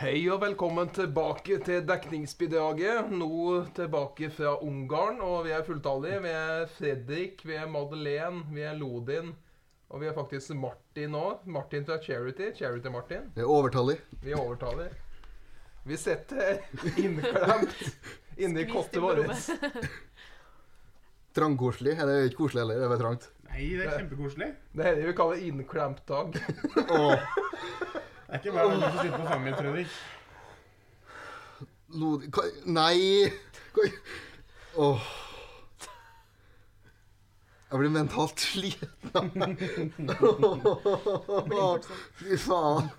Hei og velkommen tilbake til dekningsbidraget. Nå tilbake fra Ungarn, og vi er fulltallige. Vi er Fredrik, vi er Madeleine, vi er Lodin, og vi er faktisk Martin òg. Martin fra Charity. Charity-Martin. Det er overtallig. Vi overtaler. Vi sitter innklemt inni kottet vårt. Trangkoselig. Nei, Det er ikke koselig heller, det er bare trangt. Nei, det er kjempekoselig. Det er det vi kaller innklemt-dag. Åh, Det er ikke hver dag du får sitte på fanget mitt, Fredrik. Lod... Hva? Nei! Hva? Åh. Jeg blir mentalt sliten av meg. Åh, Fy faen.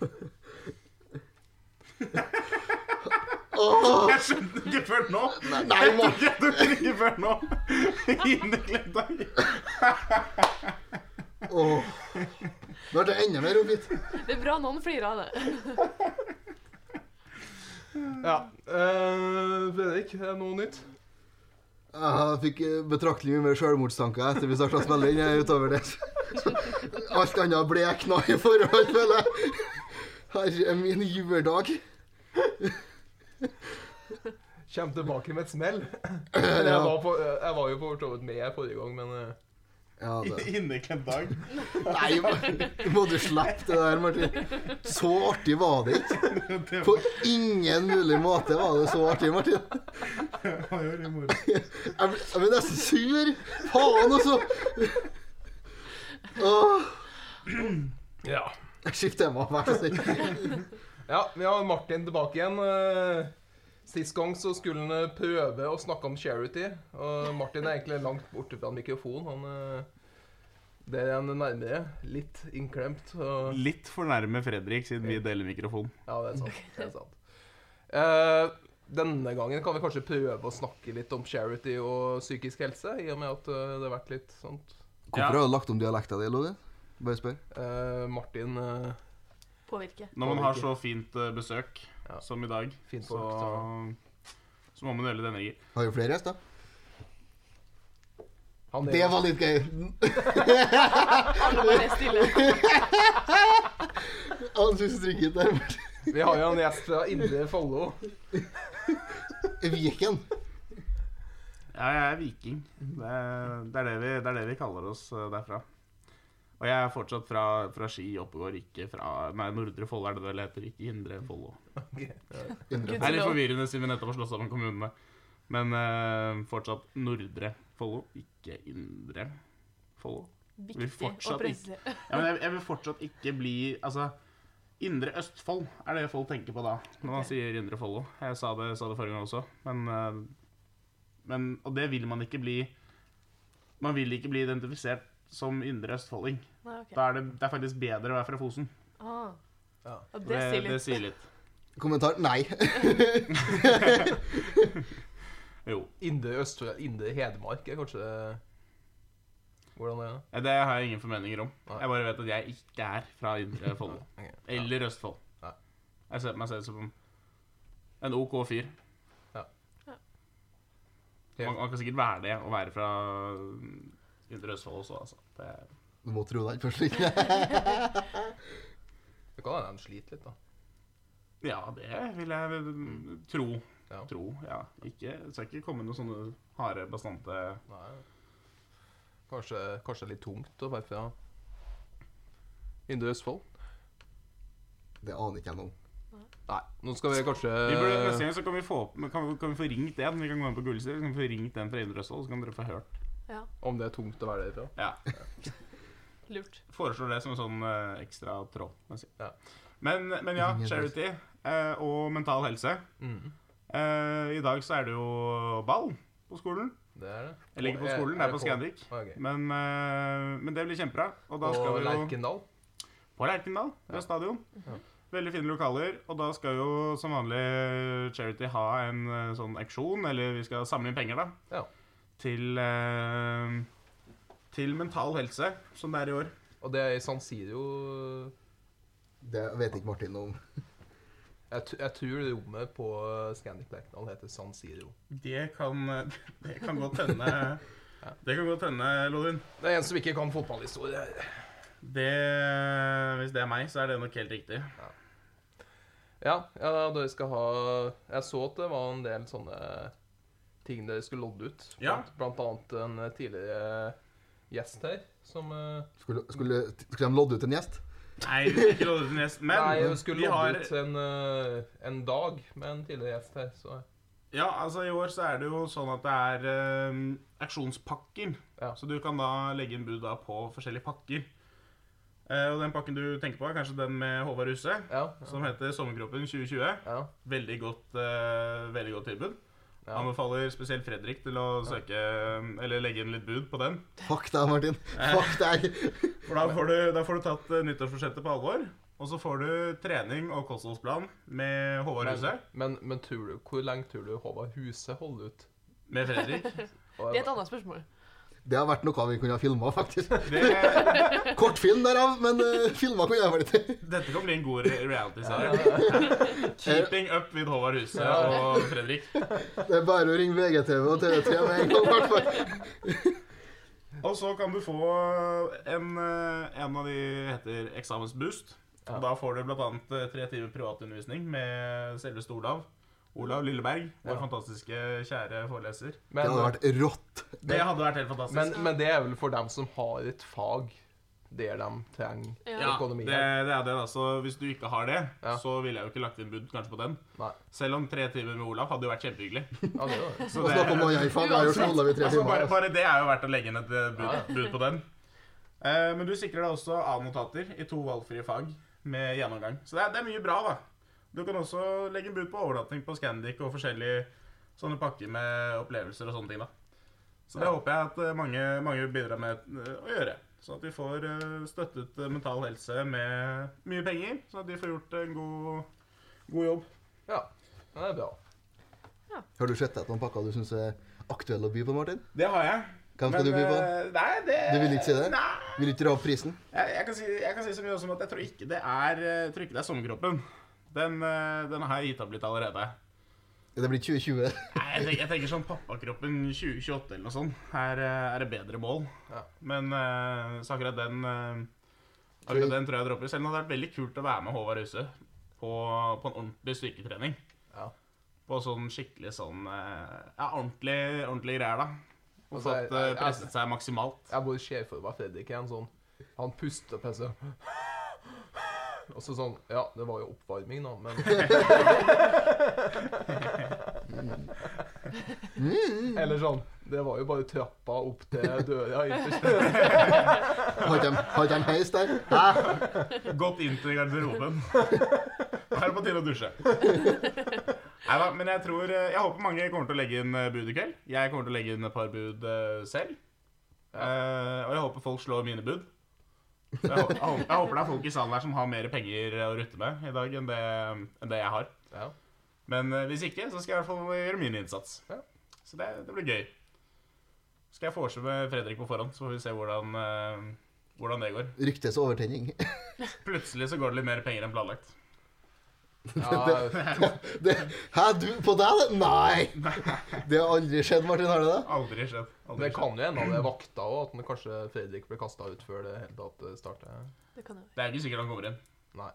Åh, Jeg skjønte ikke før nå. Nei, nei, man. Jeg skjønte ikke før nå. Inneklemt deg. Åh. Nå ble det enda mer oppgitt. Det er bra noen flirer av det. Ja. eh, Fredrik, er det noe nytt? Jeg fikk eh, betraktelig mye mer selvmordstanker etter vi starta å spille inn. eh, utover det. Så Alt annet blekna i forhold, føler jeg. Herre min juledag. Kjem tilbake med et smell. Eller, Jeg Ja. var, på, eh, jeg var jo på for så vidt med forrige gang, men eh, Ja, det. Inneklemt dag. Nei, må- må du slippe det der, Martin. Så artig var det ikke. Det På ingen mulig måte var det så artig, Martin. var jo litt moro. Jeg blir, jeg blir nesten sur. Faen, altså. Åh, ja. Jeg skifter tema, vær så snill. Ja, vi har Martin tilbake igjen. Eh, Sist gang så skulle han eh, prøve å snakke om charity. Og Martin er egentlig langt borte fra mikrofonen. Han, eh, der er han nærmere. Litt innklemt. Og Litt for nærme Fredrik, siden vi deler mikrofon. ja, det er sant. Det er sant. Eh, denne gangen kan vi kanskje prøve å snakke litt om charity og psykisk helse, i og med at eh, det har vært litt sånt. Hvorfor har du lagt om dialekta di, Lodin? Bare spør. Eh, Martin eh, Påvirke. Når man har så fint eh, besøk Ja. som i dag, Fint så, folk, så må man dele denne, gitt. Har jo flere gjester. han er- Det var litt gøy. Alle bare er stille. Han synes trykket der borte. Vi har jo en gjest fra Indre Follo. Viken. Ja, jeg er viking. Det er det, er det, vi, det, er det vi kaller oss eh, derfra. Og jeg er fortsatt fra, fra Ski, Oppegård, ikke fra Nei, Nordre Follo er det det vel heter, ikke Indre Follo. Indre. Det er litt forvirrende siden vi nettopp har slått sammen kommunene. Men eh, fortsatt Nordre Follo, ikke Indre Follo. Vi Viktig å fortsatt presisere. Ja, men jeg, jeg vil fortsatt ikke bli Altså, Indre Østfold er det folk tenker på da, når man Ok. sier Indre Follo. Jeg sa det, sa det forrige gang også, men, eh, men Og det vil man ikke bli Man vil ikke bli identifisert som Indre Østfolding. Nei, ok. Da er det, det er faktisk bedre å være fra Fosen. Ah. Ja. Og det sier det litt. sier litt. Kommentar? Nei. Jo. Indre Østfold, Indre Hedmark er kanskje Hvordan er det? Eh, Det har jeg ingen formeninger om. Nei. Jeg bare vet at jeg ikke er fra Indre Follo. Ok. Eller Østfold. Nei. Jeg ser på meg selv som en OK fyr. Ja. Ja. Man, man kan sikkert være det, å være fra mm, Indre Østfold også, altså. Det, Du må tro det ikke først. ikke? Det kan hende de sliter litt, da. ja, det vil jeg vel tro. Mm. Ja. Tro, ja. Ikke, det skal ikke komme noen sånne harde, bastante Nei. Kanskje, kanskje litt tungt å være fra Indre Østfold? Det aner ikke jeg noe om. Nei, nå skal vi kanskje Vi burde, Neste gang så kan vi få, opp- kan vi, kan vi få ringt en. Vi kan gå inn på Gullsted, så kan vi få ringt en fra Indre Østfold, så kan dere få hørt. Ja, Om det er tungt å være derfra? Ja. lurt. Foreslår det som en sånn eh, ekstra tråd. må jeg si. Ja. Men, men ja, Ingen charity eh, og mental helse. Mm. Eh, I dag så er det jo ball på skolen. Det er det. Eller ikke på skolen, det eh, er på Scandic. Ah, ok. Men, eh, men det blir kjempebra. Og da skal Og vi jo Lerkendal? på Lerkendal, ved stadion. Ja. Veldig fine lokaler. Og da skal jo som vanlig Charity ha en eh, sånn auksjon, eller vi skal samle inn penger, da. Ja. Til, eh, til mental helse, som det er i år. Og det er i San Siro Det vet ikke Martin noe om. Jeg, t jeg tror rommet på eh, Scandic Lerkendal heter San Siro. Det kan, det kan godt hende. Det kan godt hende, Lodin. Det er en som ikke kan fotballhistorie her. Det, hvis det er meg, så er det nok helt riktig. Ja, ja, dere skal ha Jeg så at det var en del sånne ting dere skulle lodde ut. Ja. Blant- Blant annet en tidligere gjest her som eh, Skulle, skulle, skulle de lodde ut en gjest? Nei, ikke lodde ut en gjest, men Nei, hun skulle vi lodde har ut en, eh, en dag med en tidligere gjest her, så Ja, altså i år så er det jo sånn at det er eh, aksjonspakker. Ja. Så du kan da legge inn bud da på forskjellige pakker. Eh, og den pakken du tenker på, er kanskje den med Håvard Ruse, Ja. som heter Sommerkroppen 2020. ja, Veldig godt, eh, veldig godt tilbud. ja. Anbefaler spesielt Fredrik til å søke ehm, Eller legge inn litt bud på den. Fuck deg, Martin. Fuck deg. For da får du, da får du tatt eh, nyttårsforsettet på alvor. Og så får du trening og kostholdsplan med Håvard Ruse. Men, men, men tror du, hvor lenge tror du Håvard Huse holder ut? Med Fredrik. Og- Det er et annet spørsmål. Det har vært noe vi kunne ha filma, faktisk. Det, Kortfilm derav, men uh, filma kunne jeg vært litt. Dette kan bli en god re- reality-serie. Keeping up with Håvard Huse Ja. og Fredrik. Det er bare å ringe VGTV og TV3 med en gang, i hvert fall. Og så kan du få en, eh, en av de heter eksamensboost. Ja. Da får du bl.a. tre timer privatundervisning med selveste Olav. Olav Lilleberg, vår Ja. fantastiske, kjære foreleser. Det Men, hadde vært rått. Det hadde vært helt fantastisk. men, men det er vel for dem som har et fag der de trenger Ja. økonomi. det, det er det, da. Så hvis du ikke har det, Ja. så ville jeg jo ikke lagt inn bud kanskje på den. Nei. Selv om tre timer med Olav hadde jo vært kjempehyggelig. Ja, det er det. Så Og det- snakke om hva jeg faen jeg har gjort med Olav i tre Altså, bare, timer. bare det er jo verdt å legge inn et eh, Ja, ja. bud, bud på den. Eh, men du sikrer deg også A-notater i to valgfrie fag med gjennomgang. Så det er, det er mye bra, da. Du kan også legge inn bud på overnatting på Scandic og forskjellige sånne pakker med opplevelser og sånne ting, da. Så det Ja. håper jeg at eh, mange, mange vil bidra med eh, å gjøre. Sånn at vi får eh, støttet eh, mental helse med mye penger, sånn at de får gjort en god, god jobb. Ja, det er bra. Har du sett etter noen pakker du syns er aktuelle å by på, Martin? Det har jeg. Hvem skal Men, du by på? eh, Nei, det Du vil ikke si det? Nei. Vil ikke dra opp prisen? Jeg, jeg, kan si, jeg kan si så mye som at jeg tror ikke det er, jeg tror ikke det er sommerkroppen. Den, eh, den har jeg gitt opp litt allerede. Det blir 2020. Nei, jeg tenker, jeg tenker sånn pappakroppen 2028 eller noe sånt. Her eh, er det bedre mål. Ja. Men eh, så akkurat den, eh, Tror- akkurat den tror jeg dropper. Selv om det hadde vært veldig kult å være med Håvard Huse på, på en ordentlig styrketrening. Ja. På sånn skikkelig sånn eh, Ja, ordentlig, ordentlig greier, da. Og Altså, fått eh, jeg- jeg- presset seg maksimalt. Jeg bare ser for meg Fredrik er en sånn Han puster og pisser. Og så sånn Ja, det var jo oppvarming, da, men Mm. Eller sånn Det var jo bare trappa opp til døra ytterst. Har ikke de- har ikke de heis der? Hæ? Gått inn til garderoben. Nå er det på tide å dusje. Neida, men jeg tror eh, Jeg håper mange kommer til å legge inn eh, bud i kveld. Jeg kommer til å legge inn et par bud eh, selv. Eh, og jeg håper folk slår mine bud. Så Jeg, hå- jeg, håper, jeg håper det er folk i salen her som har mer penger eh, å rutte med i dag enn det, enn det jeg har. Ja. Men eh, hvis ikke, så skal jeg i hvert fall gjøre min innsats. Ja. Så det, det blir gøy. Skal jeg forse med Fredrik på forhånd, så får vi se hvordan, eh, hvordan det går. Ryktes overtenning. Plutselig så går det litt mer penger enn planlagt. Ja, Det, hæ, du? På deg? det? Nei! Det har aldri skjedd, Martin. Har det det? Aldri skjedd. Aldri det kan jo hende det er vakta òg, at den kanskje Fredrik ble kasta ut før det hele tatt starter. Det kan jo være. Det er ikke sikkert han kommer inn. Nei.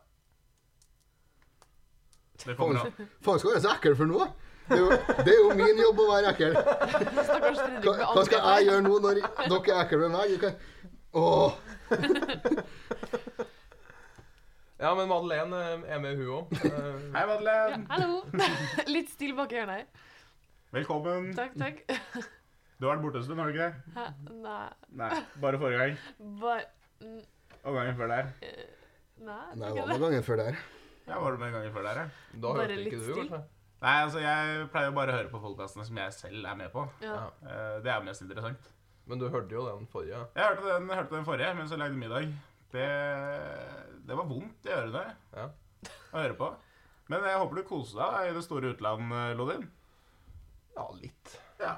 Det kommer han. Faen, skal du være så ekkel for noe? Det er, jo, det er jo min jobb å være ekkel. Stakkars Fredrik Hva, med hva skal jeg angrepet. gjøre nå når dere er ekle med meg? Du kan... Åh, Ja, men Madeleine eh, er med, hun Eh, òg. Hei, Ja, Madeleine. hallo. Litt stille bak i hjørnet. her. Velkommen. Takk, takk. Du har vært borte en stund, har du ikke det? Hæ? Nei. Nei, bare forrige gang. Bare mm, Og gangen før der. eh, Nei, Nei, det det kan var noen jeg. ganger før der. Ja, var du med gangen før der, ja? Da Bare hørte ikke litt du, still. kanskje? Nei, altså, jeg pleier jo bare å høre på folkekastene som jeg selv er med på. Ja. Ja. Eh, Det er mest interessant. Men du hørte jo den forrige. Jeg hørte den, hørte den forrige mens jeg lagde middag. Det, det var vondt i ørene Ja. å høre på. Men jeg håper du koser deg i det store utland, eh, Lodin. Ja, litt. Ja,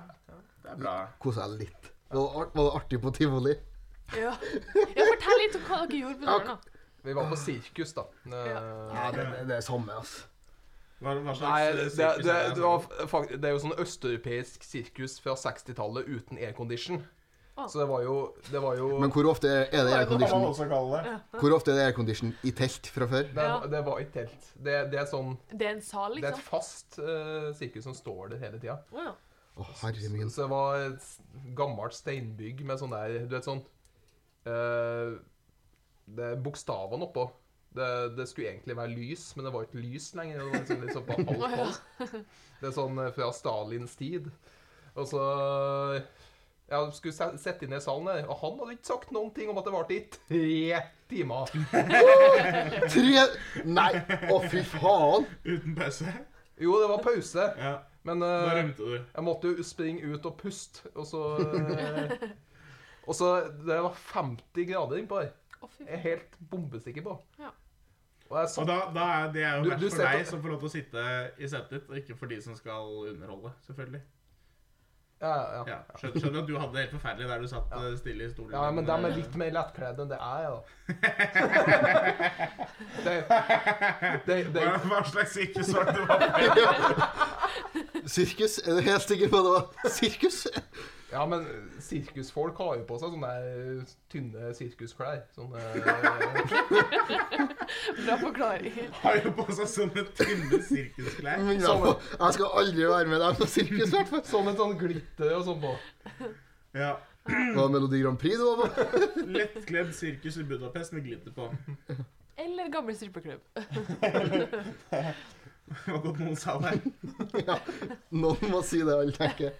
det er bra. Kosa jeg litt. Det var, art- var det artig på tivoli? ja. ja, fortell litt om hva dere gjorde på turen, da. Vi var på sirkus, da. Eh, Ja, det, det, det er samme, ass. Hva, hva Nei, det, sirkus det, er det, det det, var, fak- det er jo sånn østeuropeisk sirkus fra 60-tallet uten aircondition. Så det var jo, det var jo Men hvor ofte er er det aircondition også kalle det. Hvor ofte er det aircondition i telt fra før? det, Ja. det var i telt. Det, det er sånn Det er en sal, Det er et liksom? fast eh, sirkus som står der hele tida. Å ja. Å, herre min. Så det var et s- gammelt steinbygg med sånn der Du vet sånn eh, Det er bokstavene oppå. Det, det skulle egentlig være lys, men det var ikke lys lenger. Det var liksom litt sånn på halvt Å, ja. hold. Det er sånn eh, fra Stalins tid. Og så Ja, du skulle se- sette inn i salen der, og han hadde ikke sagt noen ting om at det varte i tre timer. Tre Nei! Å, fy faen! Uten pause. Jo, det var pause, Ja. men eh, Da rømte du. Jeg måtte jo springe ut og puste, og så Og så Det var 50 grader innpå her. Å, fy. Jeg er helt bombesikker på. Ja. Og jeg Og satt da, da er det er jo Du- verst du for setter- deg som får lov til å sitte i setet ditt, og ikke for de som skal underholde, selvfølgelig. ja, ja, ja. Ja, skjønner, skjønner at du hadde det helt forferdelig der du satt eh, stille i stolen. Eh, ja, men de er litt mer lettkledd enn det jeg er, da. Det, det, det, Hva, hva slags sirkusvakt du var på? Sirkus? Er du helt sikker på at det var sirkus? ja, men sirkusfolk har jo på seg sånne der tynne sirkusklær. eh, Sånne Bra forklaring. Har jo på seg sånne tynne sirkusklær. Men i hvert fall, Jeg skal aldri være med deg på sirkus, i hvert fall. Sånn et sånn glitter og sånn på. Ja. Det var Melodi Grand Prix du var på. Lettkledd sirkus i Budapest med glitter på. Eller gammel strippeklubb. Det var godt noen sa det. Noen må si det, alle tenker.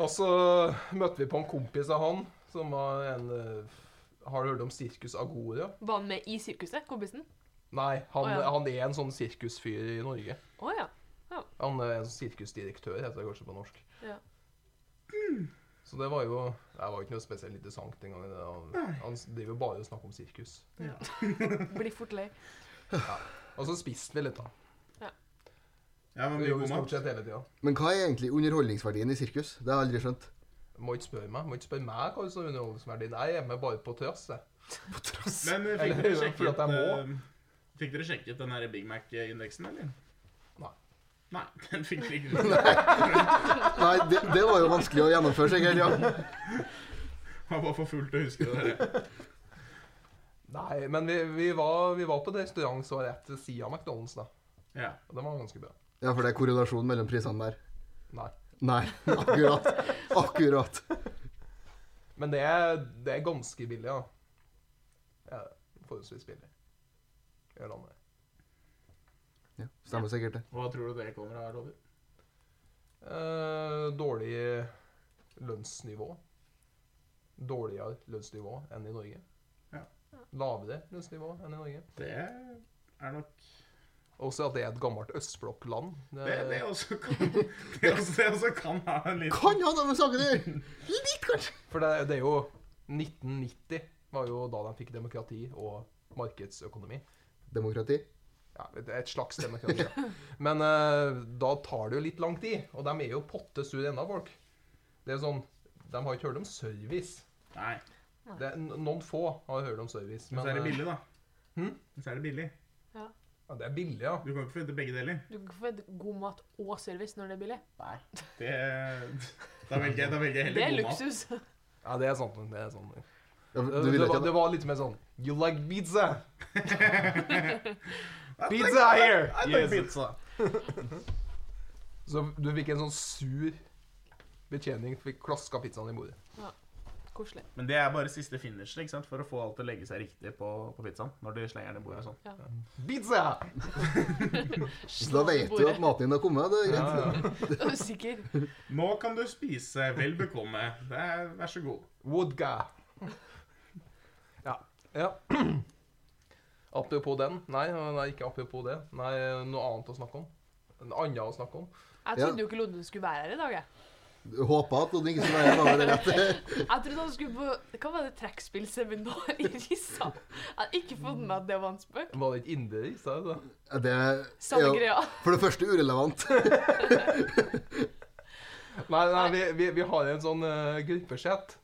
Og så møtte vi på en kompis av han, som var en eh, Har du hørt om Sirkus Agora? Var han med i sirkuset, kompisen? Nei, han, Å, ja. han er en sånn sirkusfyr i Norge. Å ja. Han er en sirkusdirektør, heter det kanskje på norsk. Ja. Så det var jo Det var jo ikke noe spesielt interessant engang. det. Han, han driver jo bare og snakker om sirkus. Blir fort lei. Og så spiste vi litt, da. Ja, men Vi mye gjorde god stort mat. sett hele tida. Men hva er egentlig underholdningsverdien i sirkus? Det har jeg aldri skjønt. Må ikke spørre meg Må ikke spørre meg hva som er underholdningsverdi. Nei, jeg er hjemme bare på terrass, jeg. Men Eller, eh, fikk dere fordi at sjekket, jeg må. eh, fikk dere sjekket den her Big Mac-indeksen, eller? Nei. Nei, den fikk dere ikke. Nei, det, det var jo vanskelig å gjennomføre, sikkert. Ja. Det var for fullt å huske det. der. Nei, men vi, vi, var, vi var på en restaurant som var rett ved siden av McDonald's, da. Ja. Og den var ganske bra. ja, for det er korrelasjon mellom prisene der. Nei. Nei, akkurat. Akkurat. Men det er, det er ganske billig, da. Ja, forholdsvis billig. Gjør det andre. Ja, stemmer sikkert det. Hva tror du det kommer av, Robin? Eh, dårlig lønnsnivå. Dårligere lønnsnivå enn i Norge. Ja. Lavere lønnsnivå enn i Norge. Det er nok Også at det er et gammelt østblokkland. Det, Det, det, også kan, det, også, det også kan ha en liten Kan ha noe med saken å gjøre! Litt, kanskje. for det, det er jo 1990 var jo da de fikk demokrati og markedsøkonomi. Demokrati. Ja, det er et slags demokrati. da. Men eh, da tar det jo litt lang tid, og de er jo potte sur ennå, folk. Det er sånn, De har ikke hørt om service. Nei. Det er, n- noen få har hørt om service. Men så er det eh, billig, da. Hm? Så er det billig. Ja, det er billig, ja. Du kan ikke forvente begge deler. Du kan ikke forvente god mat og service når det er billig. Nei. Det, da, velger jeg, da velger jeg Det heller er god mat. luksus. Ja, det er sant. Det, er sant. Ja, for Det, du ville var, ikke det var litt mer sånn You like pizza? I think- Pizza here! I think Yes. pizza. Så du fikk en sånn sur betjening. Fikk klaska pizzaen i bordet. Koselig. Men det er bare siste finishen ikke sant? for å få alt til å legge seg riktig på, på pizzaen. Når de slenger den i bordet og sånn. Pizza! Så da vet du at maten din har kommet. Det er Ja, greit. ja. Er du sikker? Nå kan du spise vel bekomme. Det er, vær så god. Woodga. Ja. ja. Apropos den. Nei, nei, ikke apropos det. Nei, noe annet å snakke om. En annen å snakke om. Jeg Ja. trodde jo ikke Lodden skulle være her i dag, jeg. Håpa at noen ikke skulle være her, da var det rett. Jeg trodde han skulle på Hva var det trekkspillseminar i Rissa? Jeg hadde ikke fått med meg at det var en spøk. Var det ikke indre i stad? da? Det er Samme jo greia. for det første urelevant. Nei, nei, vi, vi, vi har en sånn uh, gruppesett.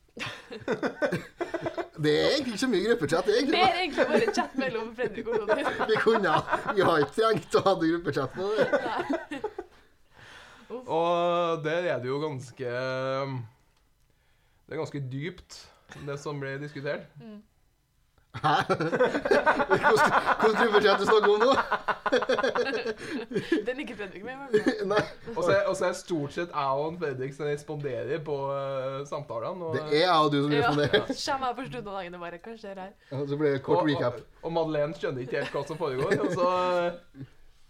Det er egentlig ikke så mye gruppechat. Det er Det egentlig er egentlig bare en chat mellom Fredrik og Lodden. bare vi kunne Vi har ikke trengt å ha noe gruppechat på det. Og der er det jo ganske um, Det er ganske dypt, det som ble diskutert. Mm. Hæ? Hvilken tryllebudsjett du snakker om nå? Den ikke Fredrik med. men- Nei, Og så er- og så er stort sett jeg og Fredrik som responderer på eh, samtalene. Og, det Sånn er jeg og du som Ja. responderer. Skjemmer jeg på slutten av dagen og bare Hva skjer her? Ja, Så blir det kort og, recap. Og, og Madeleine skjønner ikke helt hva som foregår. Og så uh,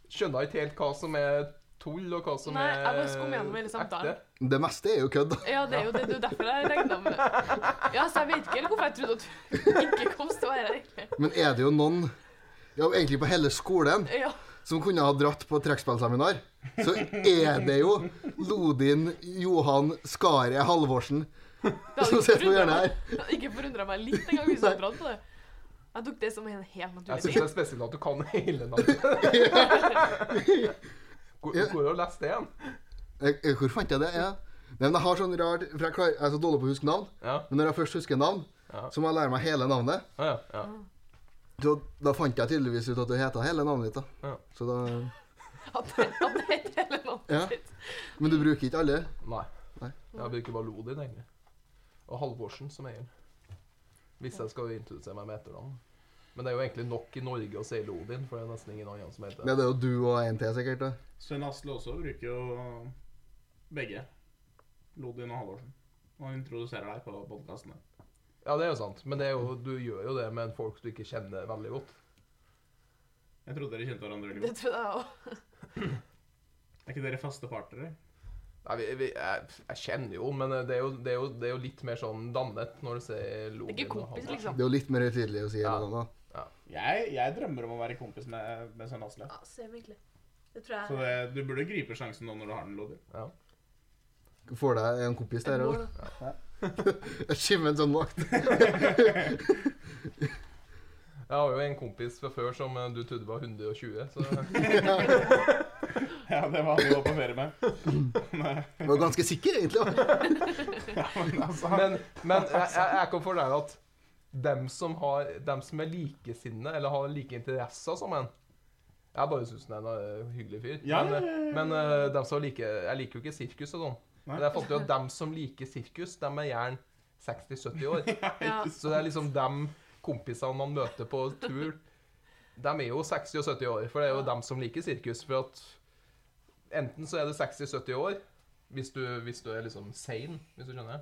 skjønner hun ikke helt hva som er tull, og hva som Nei, er jeg bare skum gjennom liksom hele samtalen. ekte. Det meste er jo kødd, da. Ja, det er jo det du derfor jeg regna med det. Ja, så jeg vet ikke helt hvorfor jeg trodde at du ikke kom til å være her. egentlig. Men er det jo noen, ja, egentlig på hele skolen, Ja. som kunne ha dratt på trekkspillseminar, så er det jo Lodin Johan Skare Halvorsen Det hadde som ikke sitter på forundret hjørnet meg- her. det hadde ikke forundra meg litt engang hvis du hadde dratt på det. Jeg tok det som en helt Jeg syns naturlig det ting. er spesielt at du kan hele navnet. Hvor hvor har du lest det igjen? Jeg- jeg- Eh, Hvor fant jeg det? Ja. Nei, men jeg har sånn rart, for jeg, klarer, jeg er så dårlig på å huske navn, Ja, men når jeg først husker navn, Ja. så må jeg lære meg hele navnet. ja, ja, ja. Så da fant jeg tydeligvis ut at du heter hele navnet ditt, da. Ja. Så da At det at det het hele Ja. navnet sitt. Men du bruker ikke alle? Nei. Nei. Jeg bruker bare Lodin, egentlig. Og Halvorsen som eier. Hvis jeg skal introdusere meg med etternavn. Men det er jo egentlig nok i Norge å si Lodin, for det er nesten ingen andre som heter Nei, det. det er jo du og en til, sikkert. da. Sven Asle også bruker jo begge. Lodin og Halvorsen. Og han introduserer deg på podkastene. Ja, det er jo sant. Men det er jo, du gjør jo det med folk du ikke kjenner veldig godt. Jeg trodde dere kjente hverandre veldig Det godt. trodde jeg òg. Er ikke dere faste partnere? Nei, vi, vi, jeg, jeg kjenner jo, men det er jo, det, er jo, det er jo litt mer sånn dannet når du sier Det Lodin. er og ikke kompis, Halvorsen. liksom. Det er jo litt mer høytidelig å si hele Ja. navnet. Jeg, jeg drømmer om å være kompis med, med Sven Asle. Ja, same, egentlig. Det tror jeg Så det, du burde gripe sjansen nå når du har den, Lodin. da. Får deg en kompis der Jeg må òg. da. Skimmen som makt. Jeg har jo en kompis fra før som eh, du trodde var 120, så Ja, det var han du var på ferie med. Nei, Jeg var ganske sikker, egentlig. da. ja, men altså, Men, men jeg, jeg, jeg kan fortelle at dem som, har, dem som er likesinnede, eller har like interesser som en Jeg bare syns han er en eh, hyggelig fyr. Ja, men ja, ja, ja. men eh, dem som har like, jeg liker jo ikke sirkus og sånn. Nei. Men jeg fant jo at dem som liker sirkus, dem er gjerne 60-70 år. Ja. Så det er liksom dem kompisene man møter på tur Dem er jo 60 og 70 år, for det er jo dem som liker sirkus. For at enten så er det 60-70 år, hvis du, hvis du er liksom sane, hvis du skjønner.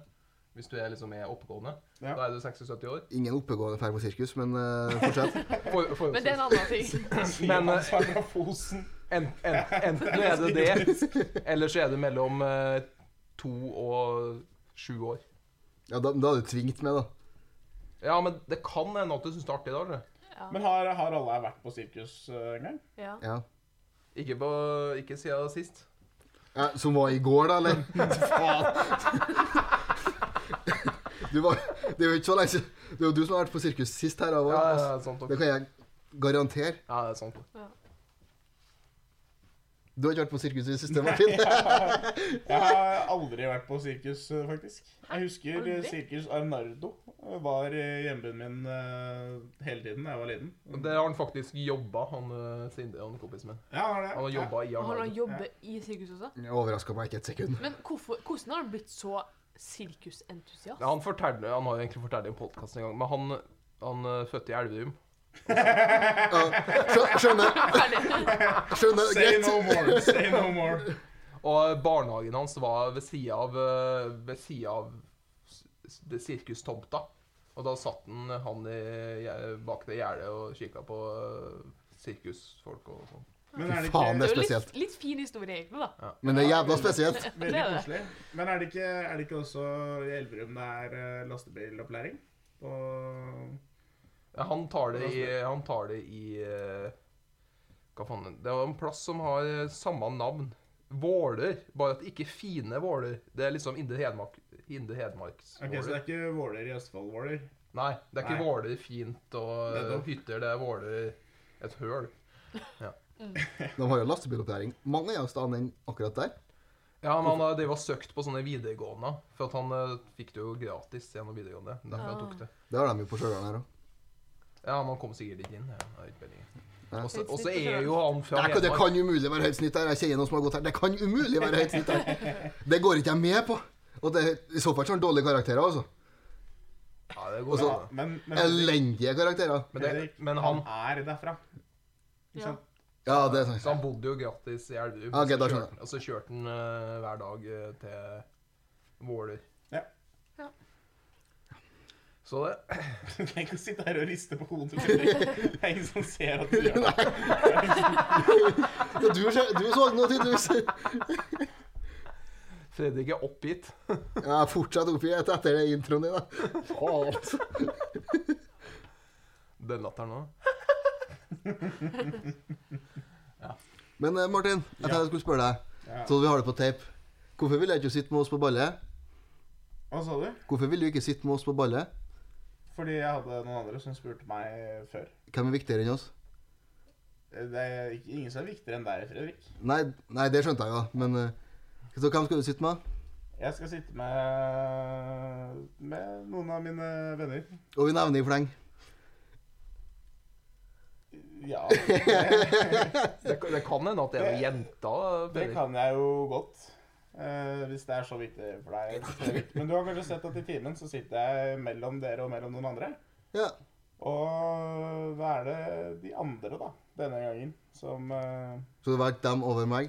Hvis du er liksom er oppegående. Ja. Da er du 60-70 år. Ingen oppegående ferd på sirkus, men eh, fortsett. For, for, Men det er en annen ting. men, Johan Svartdal Fosen. en, en, enten er det det, eller så er det mellom eh, to og sju år. Ja, da, da er du tvingt med, da. Ja, men det kan hende at du syns det er artig i dag. eller? Ja. Men har, har alle her vært på sirkus eh, en gang? Ja. Ja. Ikke, på, ikke siden sist. Ja, som var i går, da, eller? Faen. Du var, det er jo ikke så lenge siden. Det er jo du som har vært på sirkus sist her. Av Ja, oss. det er sant. nok. Det kan jeg garantere. Ja, det er sant. nok. Du har ikke vært på sirkus i det siste, Martin. Jeg har aldri vært på sirkus, eh, faktisk. Jeg husker eh, Aldri? sirkus Arnardo var i hjembyen min eh, hele tiden da jeg var liten. Det har han faktisk jobba, han eh, Sindre, han kompisen min. Ja, har det. Han har Ja. jobba i Og han Arnardo. jobber i sirkus også. Jeg overraska meg ikke et sekund. Men hvorfor, hvordan har han blitt så sirkusentusiast? Ja, han, forteller- han har jo egentlig fortalt det i en podkast en gang, men han, han eh, fødte i Elverum. Ja, skjø- skjønner. Ferdig. skjønner, Say Greit. no more, say no more. Og eh, barnehagen hans var ved sida av, eh, ved siden av s- s- det sirkustomta. Og da satt han, han i, gje- bak det gjerdet og kikka på eh, sirkusfolk og sånn. Men er det ikke, Faen, det Det er er jo spesielt. litt, litt fin historie, egentlig. da. Men det er jævla spesielt. Veldig det. koselig. Men er det ikke, er det ikke også i Elverum det er eh, lastebilopplæring? På Ja, han tar det i, han tar det i eh, Hva faen Det er en plass som har eh, samme navn. Våler. Bare at ikke fine Våler. Det er liksom Indre Hedmark, Indre Hedmarks Ok, Så det Våler. er ikke Våler i Østfold, Våler? Nei, det er ikke Nei. Våler fint og eh, Nettopp. hytter. Det er Våler et høl. De har jo lastebilopplæring mange av stedene enn akkurat der. Ja, men han har drevet og søkt på sånne videregående. For at han eh, fikk det jo gratis gjennom videregående. Derfor han Ah. tok det. Det har de jo på Stjørdal her òg. Ja, men han kom sikkert ikke inn. Ja, jeg har ikke peiling. Nei. Og så- Helt Og så snitt på er jo han fra Det, kan- det kan umulig være høyt snitt her. Jeg kjenner noen som har gått her. Det kan umulig være høyt snitt her. Det går ikke jeg med på. Og det, I så fall så har han dårlige karakterer, altså. Ja, det går Og så- bra. Ja, men, men, Elendige karakterer. Men, det, Henrik, men han han, er derfra. Ikke Ja. sant? Ja, det er så sant. han bodde jo gratis i Elverum. Ok, da og så skjønner kjørte- og så kjørte han eh, hver dag eh, til Våler. Ja. Ja. Så det Du kan ikke sitte her og riste på hodet. Det er ingen som ser at du gjør det. Ja, du, er så- du er så våken nå, tydeligvis. Fredrik er oppgitt. Ja, fortsatt oppi etter, etter det introen din, da. Faen, altså. Den latteren nå. Men eh, Martin, jeg tenkte jeg skulle spørre deg, Ja. så vi har det på tape. Hvorfor ville du ikke sitte med oss på ballet? Hva sa du? Hvorfor ville du ikke sitte med oss på ballet? Fordi jeg hadde noen andre som spurte meg før. Hvem er viktigere enn oss? Det er ikke- ingen som er viktigere enn deg, Fredrik. Nei, nei det skjønte jeg jo, men eh, Så hvem skal du sitte med? Jeg skal sitte med, med noen av mine venner. Og vi nevner i fleng. Ja, Det, kan- det kan hende at det er noen jenter. det Fredrik. kan jeg jo godt. eh, hvis det er så viktig for deg. Fredrik. Men du har kanskje sett at i timen så sitter jeg mellom dere og mellom noen andre. Ja. Og hva er det de andre, da, denne gangen, som eh, Så det valgte dem over meg?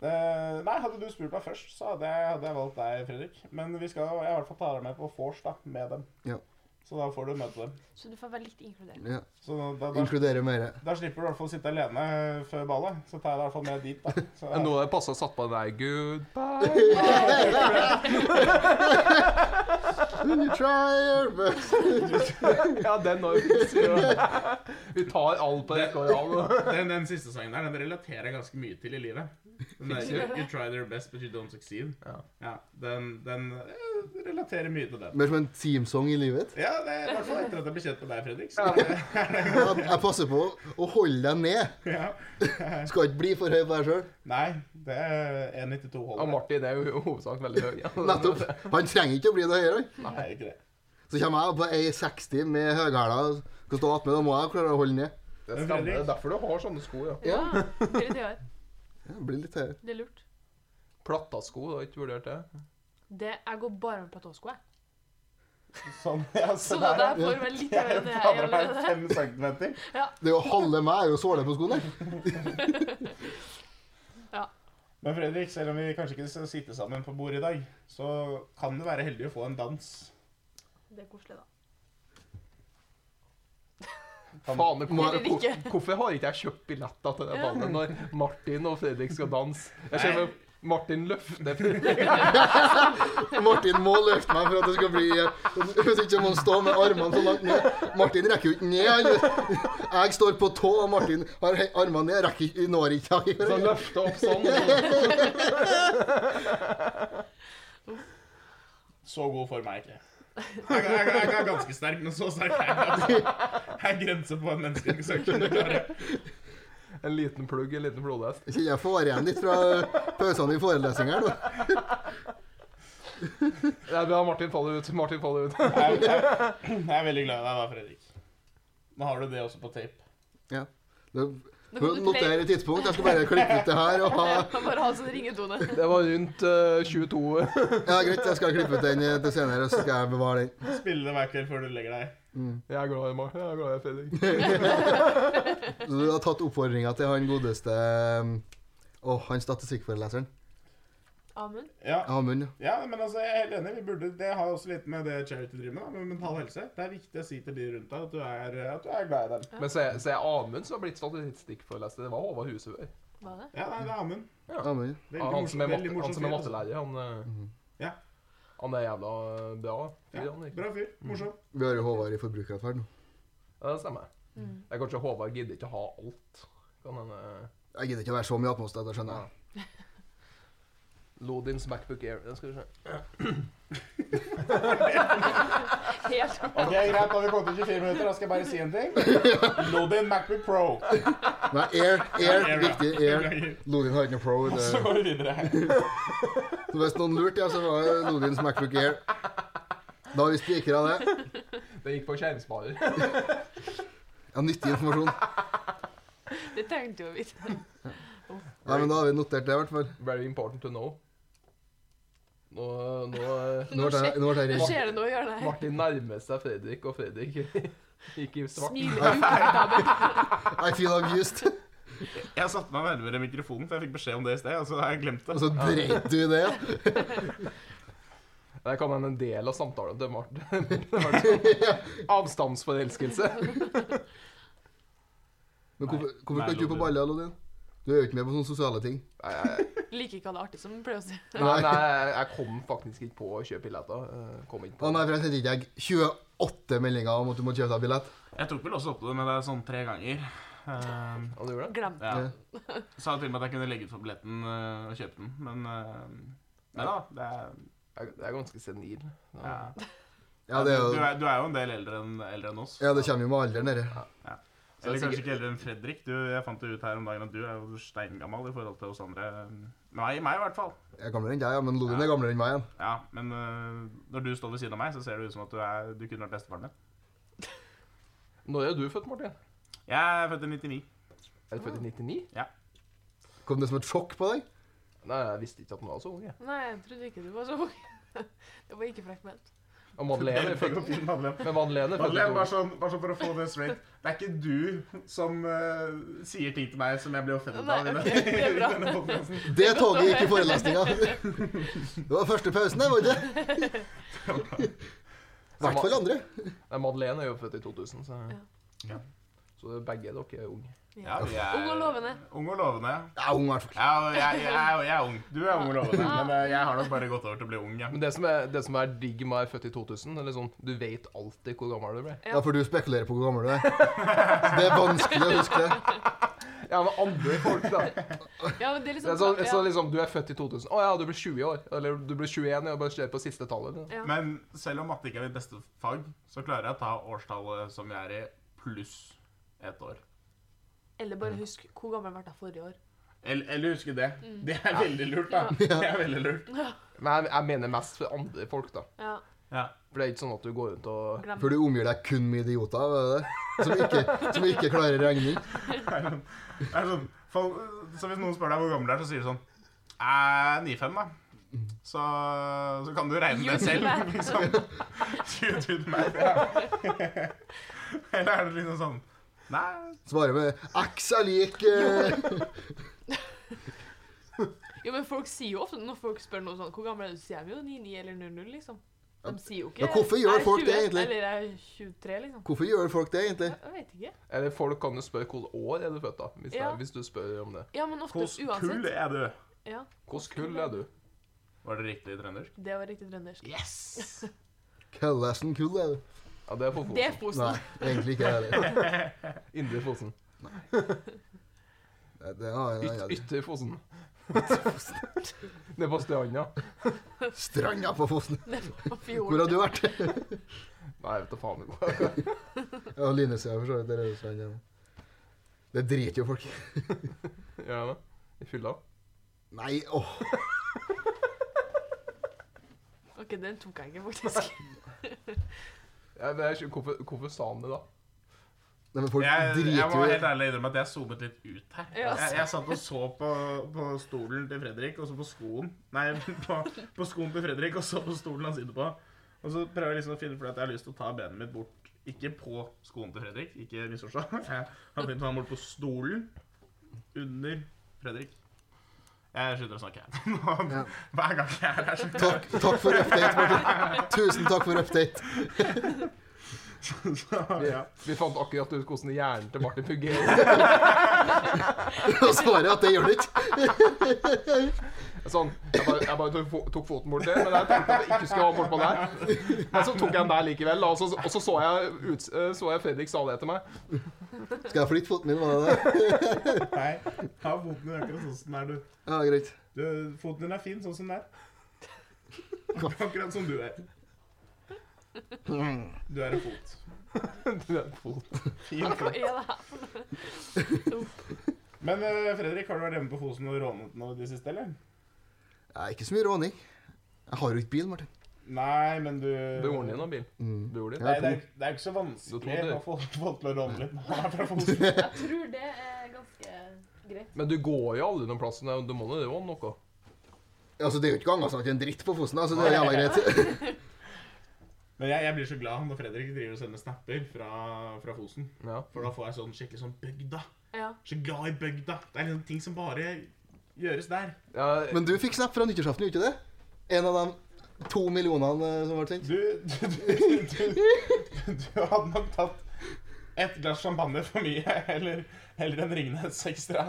eh, Nei, hadde du spurt meg først, så hadde jeg, hadde jeg valgt deg, Fredrik. Men vi skal, jeg har i hvert fall tar deg med på vors da, med dem. Ja. Så da får du møte dem. Så du får være litt inkludert. Ja. Så da, da, Inkluderer mere. da slipper du i hvert fall å sitte alene før ballet. Så tar jeg deg i hvert fall med dit, da. Så, Men nå har jeg passa satt på den der Goodbye. You try your best. Ja, den har vi sier Vi tar all på rekke og rad. Den, den siste sangen der, den relaterer jeg ganske mye til i livet. Den der, you, you try their best, but you don't succeed. Ja. den, den eh, relaterer mye til den. Mer som en teamsong i livet. Ja, det er i hvert fall etter at jeg ble kjent med deg, Fredrik. Så det, Jeg jeg passer på å holde deg ned. ja. Skal ikke bli for høy på deg sjøl. Nei, det er 1,92 Og holder. Martin er jo i hovedsak veldig høy. Nettopp. Han trenger ikke å bli noe høyere. han. Nei, det er ikke det. Så kommer jeg opp på 1,60 med høyhæla og skal stå attmed. Da må jeg klare å holde ned. Det stemmer. Det er derfor du har sånne sko. ja. Ja. Det er det de har. Ja, det blir litt høyere. Det er lurt. Plattasko, du har ikke vurdert det? Det, jeg går bare med platåsko, jeg. Sånn, ja, så Så der, det ja. er for meg litt Jeg høyere er enn det jeg fader meg allerede. fem centimeter. Det er jo halve meg er jo såle på skoene. Men Fredrik, selv om vi kanskje ikke skal sitte sammen på bordet i dag, så kan du være heldig å få en dans. Det er koselig, da. Kan- Faen, hvor- Eller hvor- ikke. hvorfor har ikke jeg kjøpt billetter til det Ja. ballet når Martin og Fredrik skal danse? Jeg Nei. ser med Martin løfter Fredrik. Martin må løfte meg for at det skal bli eh, Hvis ikke må han stå med armene så langt ned. Martin rekker jo ikke ned. han. Jeg står på tå, og Martin har he- armene ned. Rekker ikke, når ikke Så han jeg. løfter opp sånn. og så- Så god form er jeg ikke. Jeg, jeg, jeg, jeg er ganske sterk, men så sterk er jeg ikke. Jeg er grenser på hva en menneske ikke skal kunne klare. En liten plugg, en liten blodhest. Kjenner jeg får igjen litt fra pausene i forelesninger. da. Nei, men Martin faller ut. Martin faller ut. Jeg, jeg, jeg er veldig glad i deg da, Fredrik. Nå har du det også på tape. Ja. Det- Nå kan du play- Noter tidspunkt. Jeg skal bare klippe ut det her. og ha... Jeg kan Bare ha sånn ringetone. Det var rundt eh, 22 Ja, Greit, jeg skal klippe ut den eh, til senere, så skal jeg bevare den. Spille det hver kveld før du legger deg. Jeg er glad i Martin. Jeg er glad i Fredrik. Så du har tatt oppfordringa til han godeste eh, Åh, han statistikkforeleseren. Amund. Ja. Amund. ja. ja, men altså, jeg er helt enig. Vi burde, det har også litt med det charity driver med, da, med mental helse. Det er viktig å si til de rundt deg at du er, at du er glad i dem. Men så er, så er Amund som har blitt statistikkforelester. Det var Håvard Husebø. Var det? Ja, nei, det er Amund. Amund. Veldig Ah, Han som er, morsom- veldig matte, han morsom som er fyr, altså. mattelærer. Han, eh, Ja. han er jævla eh, bra. fyr, Ja, han, ikke? bra fyr. Morsom. Vi har jo Håvard i forbrukeratferd nå. Ja, det stemmer. Det er kanskje Håvard gidder ikke å ha alt. Kan eh, hende Jeg gidder ikke å være så mye attmål, det skjønner jeg. Lodins MacBook Air. Det skal vi se. Helt Ok, greit, da har vi kommet til 24 minutter. Da skal jeg bare si en ting. Lodin MacBook Pro. Nei, air, air, Air, ja. Altså. viktig, air. Lodin har ikke noe pro. Så Det. går vi videre. Så hvis noen lurte, ja, så var det Lodins MacBook Air. Da har vi spikra det. Det gikk på skjermsparer. Ja, nyttig informasjon. Det tenkte jo vi. Nei, men da har vi notert det, i hvert fall. Very important to know. Nå, nå Nå ble jeg- nå ble jeg Nå redd. skjer det noe i hjørnet her. Martin nærmer seg Fredrik, og Fredrik gikk i svart. Smiler ukomfortabelt. I feel abused. Jeg satte meg nærmere mikrofonen, for jeg fikk beskjed om det i sted. Og så har jeg glemt Og det. så dreit du i det. Der kan hende en del av samtalen til Martin. sånn Avstandsforelskelse. Men hvorfor, hvorfor Nei, skal ikke du på Lodin. baller, Lodin? Du er jo ikke med på sånne sosiale ting. Nei, jeg, Liker ikke å ha det artig, som han pleier å si. nei, nei, jeg kom faktisk ikke på å kjøpe billetter. Eh, Kom ikke Å på. nei, for jeg sendte ikke deg 28 meldinger om at du må kjøpe deg billett. Jeg tok vel også opp det med deg sånn tre ganger. Eh, Ja, du gjorde det? Glem det. ja. Ja. Sa til og med at jeg kunne legge ut for billetten eh, og kjøpe den, men eh, Nei da. Det er, Jeg, jeg er ganske senil. ja. Ja. Ja, det er du, jo er, du er jo en del eldre enn eldre enn oss. Ja, det kommer jo med alderen, dette. Så Eller det er kanskje sikkert- ikke eldre enn Fredrik. Du, jeg fant jo ut her om dagen at du er jo steingammal i forhold til oss andre. Nei, meg i hvert fall. Jeg er gamlere enn deg, ja, men Lodin er gamlere enn meg igjen. Ja, Men eh, når du står ved siden av meg, så ser det ut som at du, er, du kunne vært bestefaren min. Når er du født, Martin? Jeg er født i 99. Er du født i 99? Kom det som et sjokk på deg? Nei, jeg visste ikke at han var så ung. jeg. Nei, jeg trodde ikke du var så ung. Det var ikke frekt ment. Og Madeleine er Det født går fint, Madeleine. Men Madeleine er født i Madeleine, 2000. bare sånn, bare sånn for å få det straight. Det er ikke du som eh, sier ting til meg som jeg blir offentlig av. Nei, i ok, det er bra. i denne podcasten. Det toget gikk i forelesninga. Det var første pausen, det, var det ikke? I hvert fall andre. Nei, Madeleine er jo født i 2000, så Ja. Så begge dere er unge. Ja, vi er- Ung og lovende. Ung og lovende, ja. Jeg er ung, i hvert fall. Ja, og jeg, jeg, er- jeg er ung. Du er ung og lovende, men eh, jeg har nok bare gått over til å bli ung. Ja. Men det som er, det som er digg med å være født i 2000, det er liksom, du vet alltid hvor gammel du ble. Ja. Ja, for du spekulerer på hvor gammel du er. Så det er vanskelig å huske det. Ja, men andre folk, da. Ja, men det er Det er liksom, sånn, ja. så liksom, du er født i 2000. Å ja, du blir 20 år. Eller du blir 21 og bare ser på siste tallet. liksom. eller? Ja. Men selv om matte ikke er mitt beste fag, så klarer jeg å ta årstallet som jeg er i, pluss ett år. Eller bare husk hvor gammel ble jeg forrige år. Eller, eller huske det. Mm. Det er veldig lurt, da. Det er veldig lurt. Men jeg, jeg mener mest for andre folk, da. Ja, Ja. For det er ikke sånn at du går rundt og glem For det. du omgir deg kun med idioter, var det det? Som ikke, som ikke klarer regning. Det er sånn, folk, så hvis noen spør deg hvor gammel du er, så sier du sånn eh, 95, da. Så, så kan du regne You det do selv, math. liksom. You do the math, ja. Eller er det liksom sånn Nei, Svarer med X er lik eh, Jo, men folk sier jo ofte Når folk spør noe sånn Hvor gammel er du? sier de jo 99 eller 00, liksom. De sier jo ikke Ja, hvorfor gjør "Er du folk det 20?" egentlig? Eller er du 23, liksom. Hvorfor gjør folk det, egentlig? Jeg, jeg vet ikke. Eller folk kan jo spørre hvilket år er du født, da. Hvis, det, Ja. er- hvis du spør om det. Ja, men ofte hvordan uansett. kull er du? Ja, Hvilket kull er du? Var det riktig trøndersk? det var riktig trøndersk. Yes! Køllesen kull, er det? Ja, det er for Det er Fosen. Nei, Fosen. egentlig ikke. Er det. Indre Fosen. Nei, det har jeg- Yt, jeg- ytre Fosen. Nede på stranda. jeg- Stranda på Fosen. på Hvor fjorden. har du vært? Nei, jeg vet da faen. hvor- Ja, Linesida, for så vidt. Der er det stranda. Det driter jo folk i. Gjør jeg det? I fylla? Nei, åh. Ok, den tok jeg ikke, faktisk. Ja, men jeg, skjønner- hvorfor, hvorfor sa han det da? Nei, men folk Jeg, jeg driter må helt jo i ærlig innrømme at jeg zoomet litt ut her. Ja, Jeg, jeg satt og så på, på stolen til Fredrik, og så på skoen Nei, på, på skoen til Fredrik, og så på stolen han sitter på. Og så prøver jeg liksom å finne for at jeg har lyst til å ta benet mitt bort Ikke på skoen til Fredrik, ikke misforstå. Jeg har tenkt å ha den bort på stolen under Fredrik. Jeg slutter å snakke. jeg. Nå, Ja. hver gang jeg er her, så, Takk, takk for update, Martin. Tusen takk for update. så ja. Vi fant akkurat ut hvordan hjernen til Martin fungerer. Og svaret er at det gjør det ikke. Sånn, Jeg bare, jeg bare tok, fo- tok foten bort der, men jeg tenkte at jeg ikke skulle ha bort på der. Men så tok jeg den der likevel, og så, og så, så, jeg, ut, så jeg Fredrik sa det til meg. Skal jeg flytte foten min? Var det det? Nei, ha foten din akkurat sånn som den er, du. Ja, greit. du. Foten din er fin sånn som den er. Akkurat som du er. Du er en fot. Du er en fot. Fin Hva fot. er det her for noe? Men eh, Fredrik, har du vært hjemme på Fosen og rånet noe i det siste, eller? Nei, ikke så mye råning. Jeg har jo ikke bil, Martin. Nei, men du Broren din har bil. Mm. Broren din. Nei, det er, det er ikke så Du vanskelig tror det. å få folk til å råne litt når man er fra Fosen. Jeg tror det er ganske greit. Men du går jo aldri noen plass. nei, Du må jo råne noe. Altså, det er jo ikke ganger som ikke er en dritt på Fosen. altså, Det er jævla greit. Men jeg, jeg blir så glad når Fredrik driver og sender snapper fra, fra Fosen. Ja. For da får jeg sånn skikkelig sånn bygda. Ja. Så glad i bygda. Det er liksom ting som bare gjøres der. Ja, Men du fikk snap fra nyttårsaften, gjorde du ikke det? En av de to millionene eh, som ble sendt? Du, du, du, du, du hadde nok tatt et glass champagne for mye, eller, eller en Ringnes ekstra.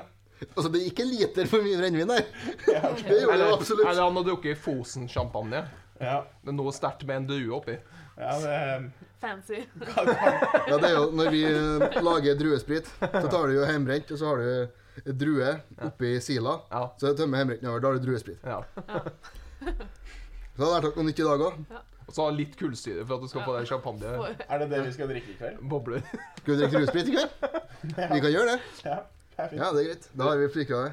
Altså, det er ikke en liter for mye brennevin der. Det gjorde det eller, absolutt. eller han har drukket Fosen-champagne. Ja, Med noe sterkt med en due oppi. ja det, Fancy. Ja, det er jo når vi eh, lager druesprit, så tar du jo hjemmebrent, og så har du eh, drue oppi sila. Ja. Så jeg tømmer hjemmebrenten over, da har du druesprit. ja. Så det har vært noe nytt i dag òg. Og så ha litt kullsyre for at du skal få deg champagne. er det det vi skal drikke i kveld? Bobler. Skal vi drikke druesprit i kveld? Vi kan gjøre det. Ja, Ja, det er fint. det er greit. Da har vi prikka det.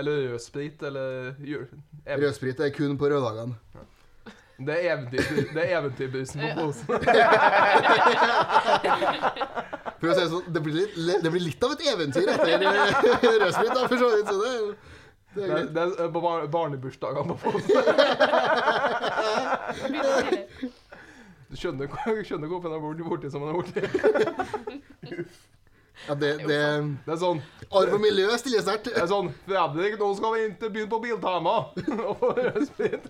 Eller rødsprit, eller jul. ev- Rødsprit er kun på røddagene. Det er eventyr- det er eventyrbrusen på posen. For å si det sånn, det blir litt, det blir litt av et eventyr etter eh, rødsprit, da, for så vidt. Så det, er jo- det er Det, greit. det er på bar barnebursdagene på posen. Du skjønner, hvor- skjønner hvorfor han er borti, borti som han er borti. Ja, det, det Det er sånn, Arv og miljø stiller sterkt. det er sånn Fredrik, nå skal vi inn til byen på Biltema! Og få rødsprit.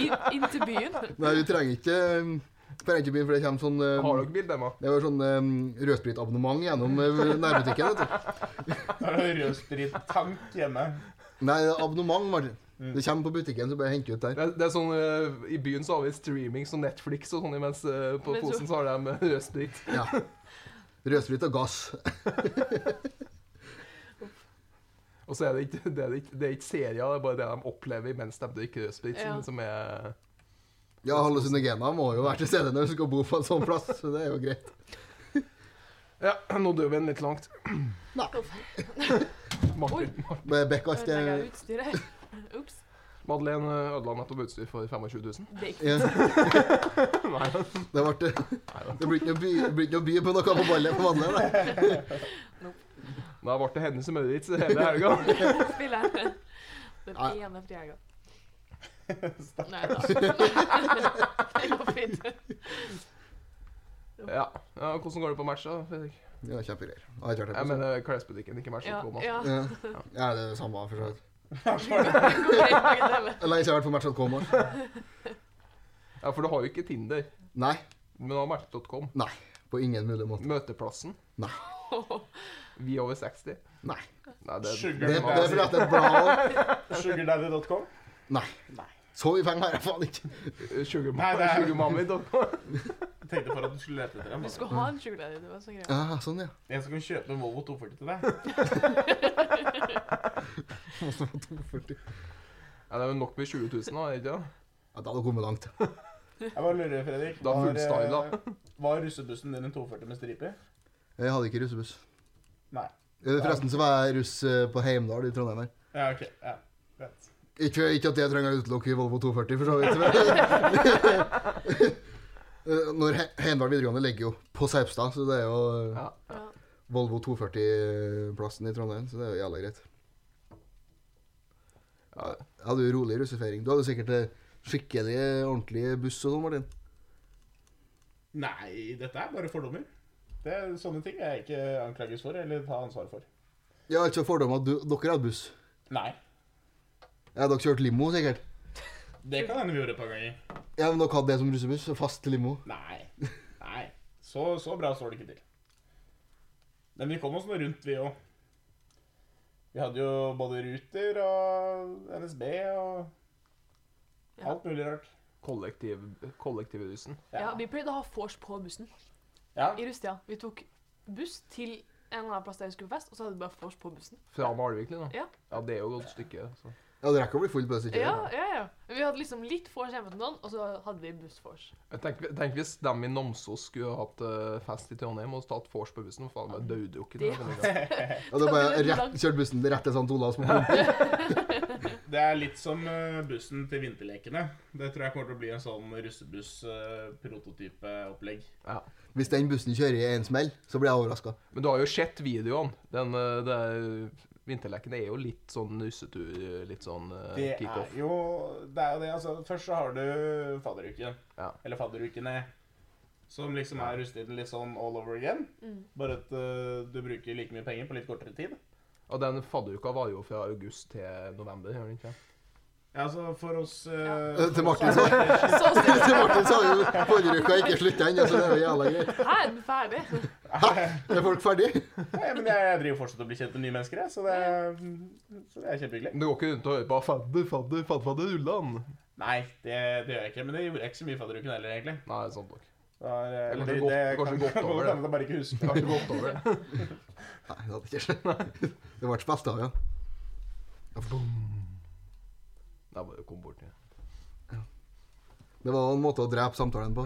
Inn, inn til byen. Nei, vi trenger ikke eh, trenger ikke begynne, for det kommer sånn eh, Har dere Biltema? Det var sånn eh, rødspritabonnement gjennom eh, nærbutikken. vet du. Da er det rødsprittank hjemme. Nei, det er abonnement, Martin. Mm. Det kommer på butikken, så bare hent ut der. Det, det er sånn, eh, I byen så har vi streaming som Netflix og sånn, mens eh, på Men så- posen så har de eh, rødsprit. Ja. Rødsprit og gass. Og så er det ikke, det er ikke, det er ikke serier, det er bare det de opplever mens de drikker rødsprit, som- Ja. som er Ja, hallusinogener må jo være til stede når du skal bo på en sånn plass, så det er jo greit. Ja, nå dør vi en litt langt. Oi. Martin, Mar- Bare Bekk alt det Ødelegger jeg utstyret? Ops. Madeleine eh, ødela nettopp utstyr for 25 000. Det gikk ja. Nei. Det ble det. Det blir ikke noe by, det blir ikke noe by på noe på ballet på vanlig. da. Da ble det Hennes og Mauritz hele helga. spiller jeg. Den Nei. ene frihelga. Stakkars. Nei da. Det går fint. Ja. ja, hvordan går det på matcha? Fredrik? Ja, Kjempegreier. Jeg har ikke Jeg vært her på sånn. mener klesbutikken, ikke matcha. Ja, på mat. ja. Ja. ja, det er det samme, for så vidt. Det går greit, begge deler. Lenge siden jeg har vært på match.com. også. ja, for du har jo ikke Tinder, Nei. men du har match.com. Nei. På ingen mulig måte. Møteplassen. Vi over 60. Nei. Nei, det, Sugar Det, det må er jeg si. fordi at det er bra også. Sugardaddy.com? Nei. Nei. Så mye penger har jeg faen ikke. Sugar Nei, det er- sugar mommy dot com. Jeg tenkte for at du skulle lete etter Du dem. skulle ha en sjukeleder, det var så greit. Ja, sånn, ja. En som kan kjøpe en Volvo 240 til deg. 240. Ja, det er jo nok med 20 000, da, er det ikke det? Ja, da hadde du kommet langt. Jeg bare lurer, Fredrik. Da var, fullstyla. eh, Var russebussen din en 240 med striper? Jeg hadde ikke russebuss. Nei. Eh, Forresten så var jeg russ eh, på Heimdal i Trondheim her. Ja, ok. Ja, greit. Ikke, ikke at jeg trenger å utelukke Volvo 240, for så vidt. Eh, Når He- Heimdal videregående ligger jo på Saupstad, så det er jo eh, Ja. Ja. Volvo 240-plassen i Trondheim, så det er jo jævla greit. Ja. Jeg hadde jo rolig russefeiring. Du hadde sikkert eh, skikkelig ordentlig buss og sånn, Martin. Nei, dette er bare fordommer. Det er Sånne ting jeg ikke anklages for eller tar ansvar for. Ja, altså fordommer at du, dere hadde buss. Nei. Ja, dere kjørte limo, sikkert. Det kan hende vi gjorde et par ganger. Ja, men dere hadde det som russebuss, fast limo. Nei. Nei. Så, så bra står det ikke til. Men vi kom oss nå rundt, vi òg. Vi hadde jo både Ruter og NSB og Ja. alt mulig rart. Kollektiv, kollektivrusen. ja, vi pleide å ha vors på bussen ja. i russetida. Vi tok buss til en eller annen plass der vi skulle på fest, og så hadde vi bare vors på bussen. Fra Malvik, liksom. Ja. ja, det er jo et godt stykke. Så. Ja, du rekker å bli full på det stykket. Ja, ja, ja. Vi hadde liksom litt vors hjemme til noen, og så hadde vi bussvors. Jeg tenker, tenk hvis de i Namsos skulle hatt eh, fest i Trondheim og tatt vors på bussen. Faen, jeg døddrukket. Det- Det... Ja, det er bare rett, kjørt bussen rett til St. Olavs på pumpa. Det er litt som eh, bussen til vinterlekene. Det tror jeg kommer til å bli en sånn eh, russebuss-prototype-opplegg. Ja. Hvis den bussen kjører i en smell, så blir jeg overraska. Men du har jo sett videoene. Den, eh, det er Vinterleken er jo litt sånn russetur, litt sånn eh, Det er kickoff. jo det. Er jo det altså, først så har du fadderuken. Ja. Eller fadderukene. Som liksom er russetiden litt sånn all over again. Mm. Bare at eh, du bruker like mye penger på litt kortere tid. Og den fadderuka varer jo fra august til november, gjør den ikke? Ja, altså for oss eh, Eh, Til Martin, så, Så ser til Martin sa jo forrige uke ikke slutta ennå, så det er jo jævla greit. Her er den ferdig. Er folk ferdige? Nei, men jeg, jeg driver fortsatt og blir kjent med nye mennesker, jeg, så det er, så det er kjempehyggelig. Du går ikke rundt og hører på 'fadder, fadder, fadderfadder, rullan'? Nei, det, det gjør jeg ikke. Men det gjorde jeg ikke så mye i fadderuken heller, egentlig. Nei, sant nok. Det var, eh, Eller det, kanskje det, gått- kanskje kan- gått over kan det. hende jeg bare ikke husker. Kanskje gått over det. Nei, det hadde ikke skjedd. Det ble festa av igjen. Jeg bare kom bort til Det var en måte å drepe samtalen på.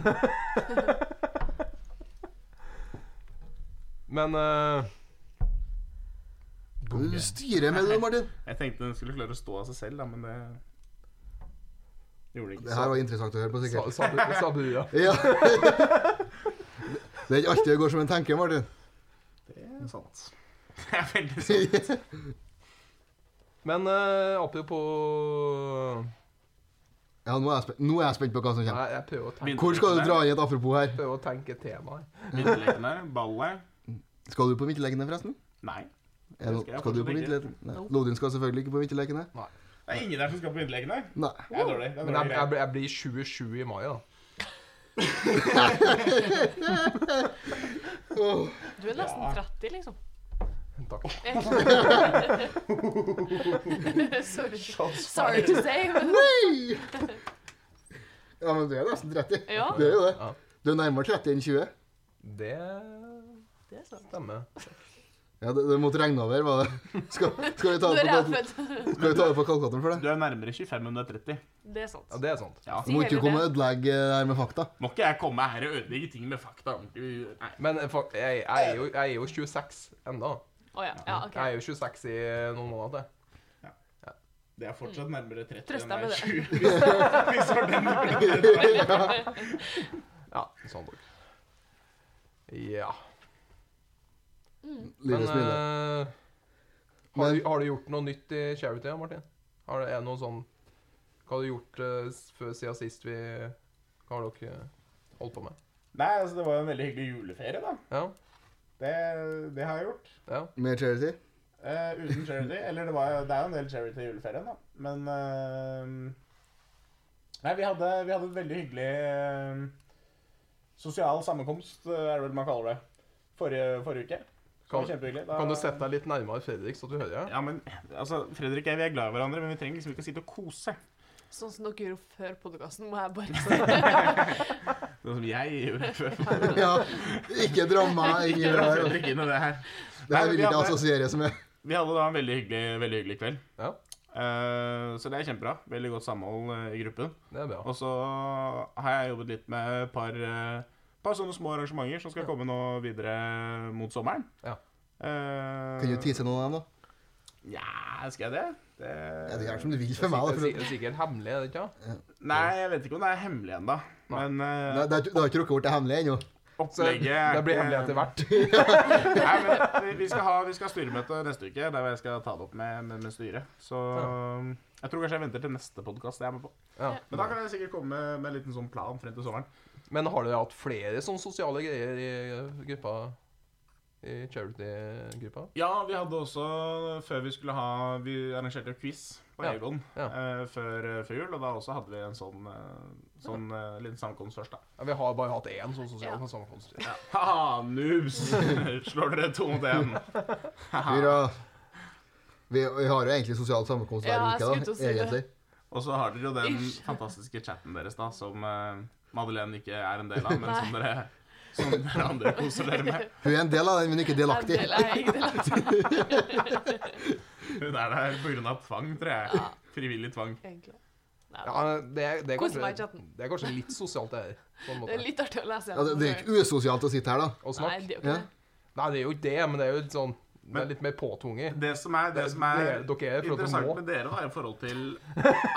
Men eh, Du styrer med det, Martin. Jeg tenkte den skulle klare å stå av seg selv, da, men det gjorde den Det ikke. her var interessant å høre på, sa, sikkert. sa, du- sa du ja? Ja. Det er ikke alltid det går som en tenker, Martin. Det er sant. Det er veldig sånn sant. Det Men eh, apropos Ja, nå er, jeg spent, nå er jeg spent på hva som kommer. Nei, jeg prøver å tenke, Hvor skal du dra inn et apropos her? prøver å tenke tema her. Vinterlekene, ballet. Skal du på vinterlekene, forresten? Nei. Er det Det noe- skal jeg skal du på fortsatt ikke. vinterlekene? Nei. Lodin skal selvfølgelig ikke på vinterlekene. Det er ingen der som skal på vinterlekene. Nei. Det er dårlig. Det er Men jeg, dårlig jeg, greie. blir- jeg blir 27 i mai, da. Åh, Du er nesten Ja. 30, liksom. Takk. Sorry. Sorry to say, men Nei! Ja, men du er nesten 30. Ja. Du er jo det. Ja. Du er nærmere 30 enn 20. Det det er sant. stemmer. Ja, det, det måtte regne over, var det. Skal, skal vi ta Når det på, jeg er kalk- født. skal vi ta det på kalkulatoren for det? Du er nærmere 25 enn du er 30. Det er sant. Ja, det er sant. Ja. Du må ikke komme og ødelegge det her med fakta. Må ikke jeg komme her og ødelegge ting med fakta? Du- Nei. Men eh, fuck, jeg, jeg, er jo, jeg er jo 26 enda. Å ja. ja ok. Jeg er jo 26 i noen måneder til. Det er fortsatt nærmere 30 Trøst enn deg med jeg er 20. Hvis- Hvis det var den du ble Ja, sånn nok. Ja. Men Livets minne. eh, har, Men- du, har du gjort noe nytt i charity, Martin? Har det, er det noe sånn Hva har du gjort eh, s- før siden sist vi Hva har dere holdt på med? Nei, altså, det var jo en veldig hyggelig juleferie, da. Ja? Det, det har jeg gjort. ja. Mer charity? Eh, uten charity. Eller det, var, jo- det er jo en del charity i juleferien, da. Men eh, Nei, vi hadde, vi hadde et veldig hyggelig eh, sosial sammenkomst, eh, er det vel man kaller det. Forrige, forrige uke. Kan- Så det var kjempehyggelig. Da- Kan du sette deg litt nærmere Fredrik, så du hører? Ja, men altså, Fredrik og jeg vi er glad i hverandre, men vi trenger liksom ikke å sitte og kose. Sånn som dere gjorde før podkasten, må jeg bare si. Sånn som jeg gjorde før. Ja. Ikke dra meg inn i det her. altså. Fredrik inn i det her. Det her vil ikke jeg hadde- assosieres med. Vi hadde da en veldig hyggelig, veldig hyggelig kveld. Ja. Eh, så det er kjempebra. Veldig godt samhold eh, i gruppen. Det er bra. Og så har jeg jobbet litt med et par, eh, par sånne små arrangementer som skal komme nå videre mot sommeren. Ja. Eh, Kan du tise noen av dem, da? Ja, skal jeg det? Det, Ja, det gjør som du vil for meg. Det Da. er sik- sikkert hemmelig, er det ikke? Nei, jeg vet ikke om det er hemmelig ennå. Nei. Men eh, Det, det, det har ikke rukket bort det hemmelige ennå. Så det, opplegget er det blir ikke- hemmelig etter hvert. Nei, men vi- vi skal ha vi skal ha styremøte neste uke, der jeg skal ta det opp med, med, med styret. Så jeg tror kanskje jeg venter til neste podkast jeg er med på. Ja. Men da kan jeg sikkert komme med, med en liten sånn plan frem til sommeren. Men har dere hatt flere sånne sosiale greier i eh, gruppa? I charity-gruppa? Ja, vi hadde også før vi skulle ha Vi arrangerte jo quiz på Ja, Egon ja. eh, før, før jul, og da også hadde vi en sånn, eh, sånn eh, liten sammenkomst først, da. Ja, vi har bare hatt én sånn sosial Ja. sammenkomst. Ha, noobs! Slår dere to mot én. Fyra. Vi, vi har jo egentlig sosial sammenkomst hver Ja, jeg skulle uke, til da. å si det. Egentlig. Og så har dere jo den Ish. fantastiske chatten deres, da, som eh, Madeleine ikke er en del av, men Nei. som dere, som dere andre koser dere med. Hun er en del av den, men ikke delaktig. Jeg er ikke delaktig, Hun er der pga. tvang, tror jeg. Frivillig tvang. egentlig. Nei, Ja, det, er- det, er Kos meg i kanskje, chatten. det er kanskje litt sosialt, det her. På en det er måte. litt artig å lese Ja, det, det er jo ikke usosialt å sitte her, da. Å Nei, snakke. det er Ja. jo ikke det. Nei, det er jo ikke det, men det er jo litt sånn Det Men- er litt mer påtvunget. Det som er, det som er Det- dere er for at du interessant må. med dere, da, i forhold til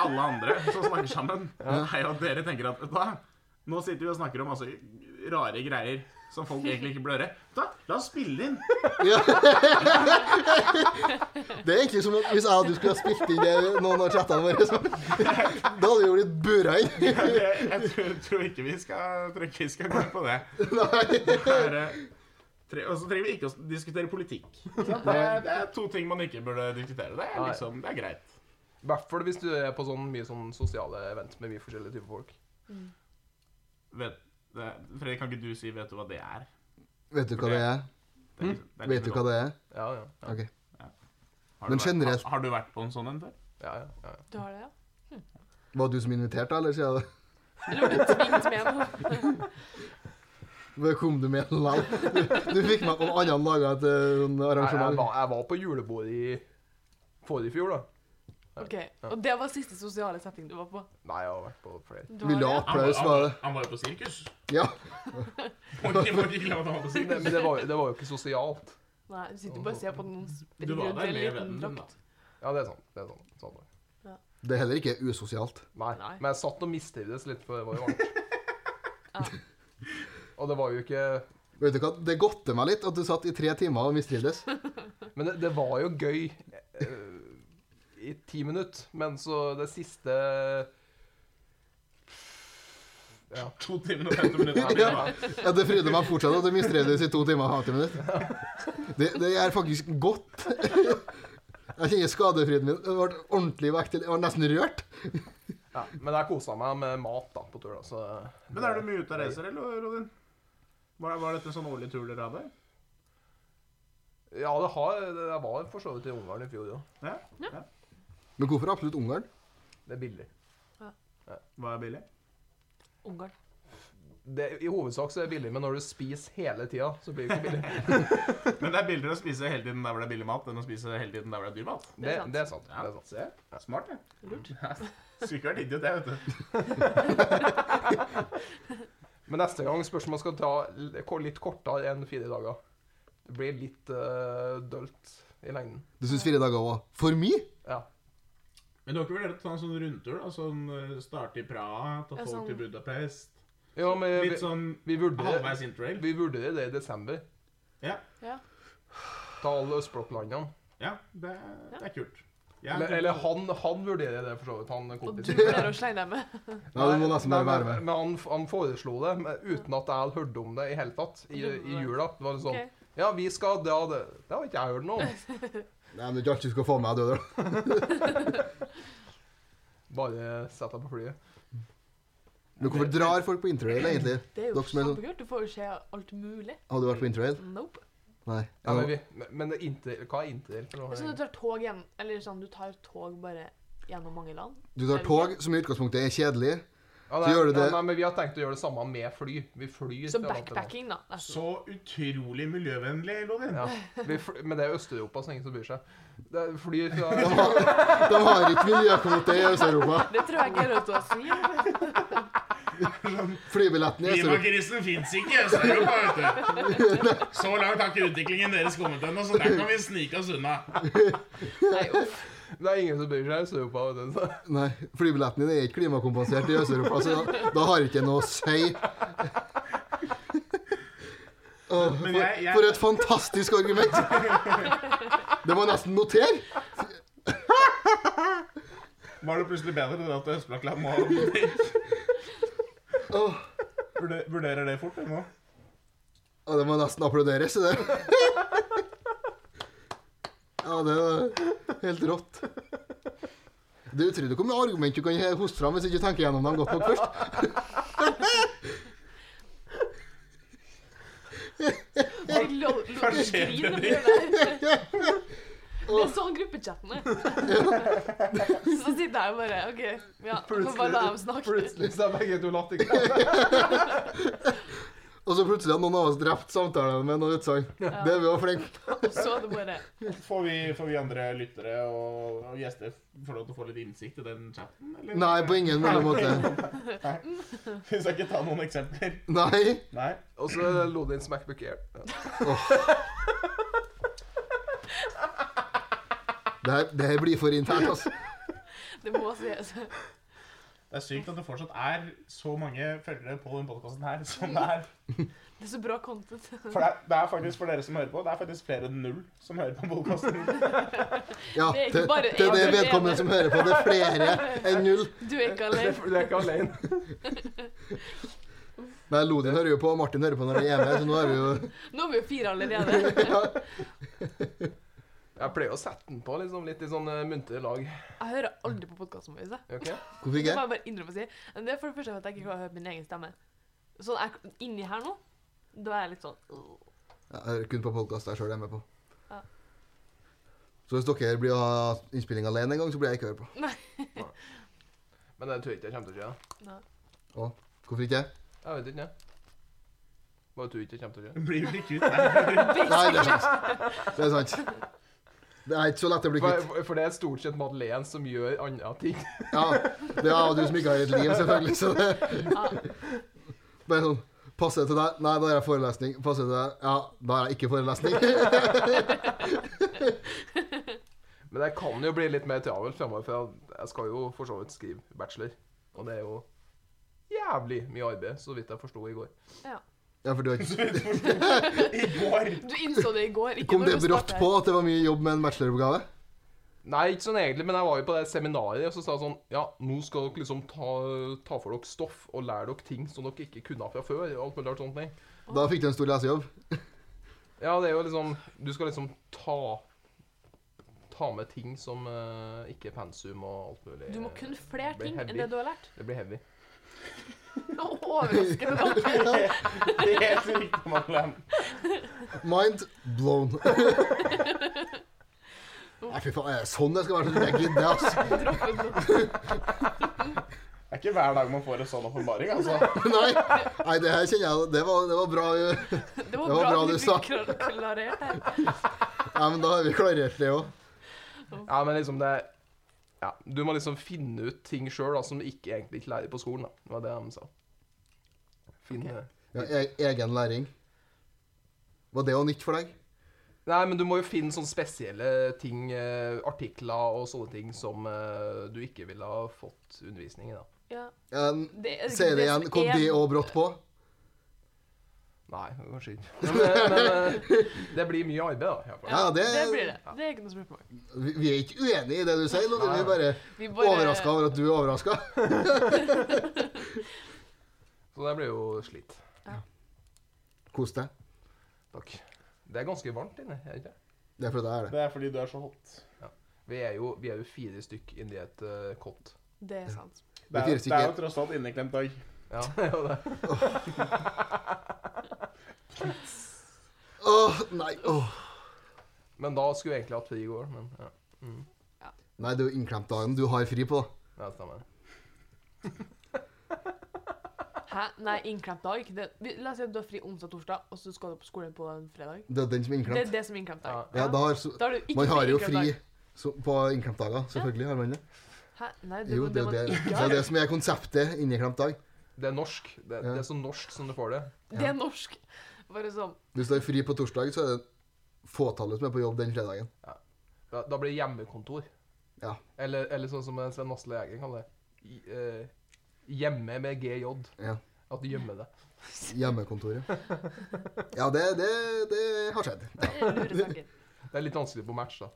alle andre som snakker sammen, er jo at dere tenker at vet du hva, nå sitter vi og snakker om altså rare greier. som folk egentlig ikke bør høre. Da, la oss spille inn. Ja. Det er egentlig som at hvis jeg og du skulle ha spilt inn det noen av chattene våre, så, da hadde vi jo blitt bura inn. Jeg, jeg tror, tror ikke vi skal, tror ikke vi skal gå på det. Nei. Det er, eh, tre- Og så trenger vi ikke å diskutere politikk. Så Det er, det er to ting man ikke burde diskutere. Det er, Nei. liksom, det er greit. I hvert fall hvis du er på sånn mye sånn sosiale event med mye forskjellige typer folk. Vet, det, Fredrik, kan ikke du si 'vet du hva det er'? Vet du hva det er? Det er- liksom, det er Vet du hva det er? Ja, ja. ja, Ok. Har Men du vært- generelt- har, har du vært på en sånn en før? ja, ja, ja. Du har det, ja? Var det du som inviterte, eller sier jeg det? Eller var du tvingt med noe? Hvor Kom du med likevel? Du, du fikk meg på annen dag etter sånn Jeg, jeg, arrangement. var, jeg var på julebordet i forrige fjor, da. Ok, Og det var siste sosiale setting du var på? Nei, jeg har vært på flere. Du Vil du ha har det? applaus? han, Var det? var, han var jo på sirkus. Ja. Må ikke- må ikke glemme at han var på Det, sirkus. men det var, jo- det var jo ikke sosialt. Nei, du sitter bare og ser på noen spille Du var rundt i der en med liten vennen din, da. drakt. Ja, det er sant. Det er sant. sant det. Det er heller ikke usosialt. Nei. Nei. Men jeg satt og mistrivdes litt, for det var jo varmt. Ja. Og det var jo ikke Vet du hva, det godte meg litt at du satt i tre timer og mistrivdes. Men det, det var jo gøy eh, i ti minutter, men så det siste Ja. To timer og 50 minutter. her, Ja. det var- Ja, det fryder meg fortsatt at du mistrivdes i to timer og 50 minutter. Det, det er faktisk godt. Jeg kjenner skadefryden min. Jeg ble ordentlig vekk til Jeg var nesten rørt. ja. Men jeg kosa meg med mat da, på tur, da, så Men er du mye ute og reiser, eller, Rodin? Var, var dette sånn årlig tur dere hadde? Ja, det har det, Jeg var for så vidt i Ungarn i fjor òg. Ja? Men hvorfor absolutt Ungarn? Det er billig. Var det billig? Ungarn. Det, I hovedsak så er det billig, men når du spiser hele tida, så blir det ikke billig. Men det er billigere å spise hele tiden der hvor det er billig mat, enn å spise hele tiden der hvor det er dyr mat. Det, sant. det er sant. Det er sant. se. Smart, det. Lurt. Skulle ikke vært idiot, jeg, vet du. Men neste gang spørsmålet skal ta l- ko- litt kortere enn fire dager. Det blir litt eh, dølt i lengden. Du syns fire dager var for mye? Ja. Men du har ikke vurdert å ta en sånn rundtur? da? Sånn eh, Starte i Praha, ta Ja, tog sånn- til Budapest? Jo, men Eh, vi, Litt sånn vi, vurderer, halvveis interrail? vi vurderer det i desember. Ja. Ja. Ta alle østblokklandene. ja det, det er kult. Jeg- Eller, eller han, han vurderer det, for så vidt. Han Og du kompisen. pleier å slenge deg med. Ja, du må nesten Nei, bare være men- med. Men han, han foreslo det men uten at jeg hadde hørt om det i hele tatt. I, i jula. Det var sånn Ok. Ja, vi skal dra det Det har ikke jeg hørt noe om. Nei, men Det er ikke alt du skal få med deg, du. Bare sett deg på flyet. Men hvorfor drar folk på interrail, egentlig? Det er jo Dere som er sånn- kjempekult. Du får jo se alt mulig. Har du vært på interrail? Nope. Nei. Ja, men vi, men- men det er inter, hva er interrail? for noe? Så du tar tog igjen, eller sånn, du tar tog bare gjennom mange land? Du tar tog, som i utgangspunktet er kjedelig. Ja, Så gjør du nei, det- Nei, men vi har tenkt å gjøre det samme med fly. Vi flyr. til land Så til land. backpacking, da. nesten. Så utrolig miljøvennlig, Lodin. Ja, vi fly, men det er Øst-Europa, så ingen som bryr seg. Det er fly fra De har, de har ikke miljøkvote i Øst-Europa. Det tror jeg ikke er lov til å si. Sånn, Flybilletten i Øst-Europa Klimakrisen fins ikke i Øst-Europa, vet du. Så langt har ikke utviklingen deres kommet ennå, så der kan vi snike oss unna. Nei, uff. Det er ingen som bryr seg i Øst-Europa. vet du, så- Nei, flybilletten din er ikke klimakompensert i Øst-Europa, så da, da har ikke noe å si. Åh, Men for, jeg- jeg- for et fantastisk argument! Det må jeg nesten notere. Var det plutselig bedre det at Østblokkland må ha mobil? Åh, Vurder- Vurderer det fort, eller nå? ja, det må nesten applauderes. Det. Ja, det er helt rått. Det er utrolig hvor mye argument du kan hoste fram hvis du ikke tenker gjennom dem godt nok først. Bare lo- lo- Kanskje Grin det når vi gjør det her. Det er sånn gruppechatten er. Så sitter jeg bare OK, ja, kan bare la dem snakke. plutselig så er begge to latterlige. Og så plutselig har noen av oss drept samtalen med noe utsagn. Det er vi jo flinke. Og så er det bare Får vi, får vi andre lyttere og, og gjester får lov til å få litt innsikt i den chatten? Eller? Nei, på ingen mulig måte. Vi skal ikke ta noen eksempler. Nei. Nei. Og så er det Lodin Smackbook Air. Ja. Det her, det her blir for internt, altså. Det må sies. Det er sykt at det fortsatt er så mange følgere på den podkasten her som det er. Det er så bra content. For det er, det er faktisk for dere som hører på, det er faktisk flere enn null som hører på podkasten. Ja, Det er ikke til, bare til det en alene. vedkommende som hører på. Det er flere enn null. Du er ikke Det, alene. det er ikke alene. Nei, Lodin hører jo på, og Martin hører på når han er hjemme. Så nå er vi jo Nå er vi jo fire allerede. Jeg pleier å sette den på liksom, litt i sånn eh, muntre lag. Jeg hører aldri på podkasten vår. jeg. Ok? Hvorfor Det ikke? må jeg bare innrømme å si. Men det er for det første at jeg ikke klarer å høre min egen stemme. Sånn jeg, inni her nå, da er jeg litt sånn øh. Jeg hører kun på podkast jeg sjøl er med på. Ja. Så hvis dere blir å ha innspilling alene en gang, så blir jeg ikke hørt på. Men det tror jeg ikke jeg kommer til å gjøre. Nei. Hvorfor ikke? Jeg vet ikke, jeg. Bare tror ikke jeg kommer til å gjøre. Blir vel ikke ut der. Nei, det er sant. Det er sant. Det er ikke så lett å bli kvitt. For, for det er stort sett Madeleine som gjør andre ting. Ja, det er av og du som ikke har et liv, selvfølgelig. Så det Ja. bare sånn Passer det til deg? Nei, da har jeg forelesning. Passer det til deg? Ja, da har jeg ikke forelesning. Men det kan jo bli litt mer travelt fremover, for jeg skal jo for så vidt skrive bachelor. Og det er jo jævlig mye arbeid, så vidt jeg forsto i går. Ja, for du har ikke I går. Du innså det i går. Ikke Kom når det du brått startet. på at det var mye jobb med en bacheloroppgave? Nei, ikke sånn egentlig, men jeg var jo på det seminaret, og så sa jeg sånn Ja, nå skal dere liksom ta, ta for dere stoff og lære dere ting som dere ikke kunne fra før. og alt mulig rart sånt ting. Da fikk du en stor lesejobb. Ja, det er jo liksom Du skal liksom ta Ta med ting som eh, ikke er pensum og alt mulig. Du må kunne flere Det blir ting enn heavy. det du har lært. Det blir heavy. Overraskende nok. Det er helt riktig, Madeleine. Mind blown. Nei, fy faen, er det sånn jeg skal være sånn? Jeg gidder, altså. Droppet noe. Det er ikke hver dag man får en sånn åpenbaring, altså. Nei, Nei det her kjenner jeg Det var, det var bra. Nei, Det var Det var bra, bra at du du sa. fikk klar- klarert her. men da har vi klarert det òg. Ja, men liksom det Ja, du må liksom finne ut ting sjøl som du ikke egentlig ikke lærer på skolen, da. Det var det de sa. Finne Ja, e- egen læring. Var det òg nytt for deg? Nei, men du må jo finne sånne spesielle ting, eh, artikler og sånne ting som eh, du ikke ville ha fått undervisning i, da. Ja, Um, det er Sier det igjen. som Kom er- de òg brått på? Nei, kanskje ikke. Men, men eh, det blir mye arbeid, da. i hvert fall. Ja, det- det blir det. Det er ikke noe spørsmål. Vi, vi er ikke uenige i det du sier, Lodde. Vi er bare, Vi bare- overrasket overraska over at du er overraska. Så det blir jo slitt. Kos deg. Takk. Det er ganske varmt inne, er det ikke? Det er fordi det er det. Det er fordi du er så hot. Vi er jo, vi er jo fire stykk inni et eh, kott. Det er sant. Det Det er, finnes det er ikke. jo tross alt inneklemt dag. Ja, det er jo det. Åh, nei. Åh. Men da skulle vi egentlig hatt fri i går, men ja. Nei, det er jo innklemt dagen du har fri på. da. ja det stemmer. Hæ? Nei, innklemt dag. Det, vi- la oss si at du har fri onsdag torsdag, og så skal du på skolen på en fredag. Det er den som er Det er innklemt. det som er innklamt dag. Ja, da har, så, Da har du ikke man har jo fri innklemt dag. så, på innklemtdager. Selvfølgelig har man det. Hæ? Nei, det, Jo, det, det, er man jo det, ikke det har. er det som er konseptet inneklemt dag. Det er norsk. Det, det er så norsk som du får det. Det er norsk. Bare sånn. Hvis du har fri på torsdag, så er det fåtallet som er på jobb den fredagen. Da, da blir det hjemmekontor. Ja. Eller, eller sånn som Sven Asle Jæger kaller det. I, eh, hjemme med GJ. Ja. At du gjemmer det. Hjemmekontoret. Ja, det, det, det har skjedd. det er Luresaker. Det er litt vanskelig på match, da.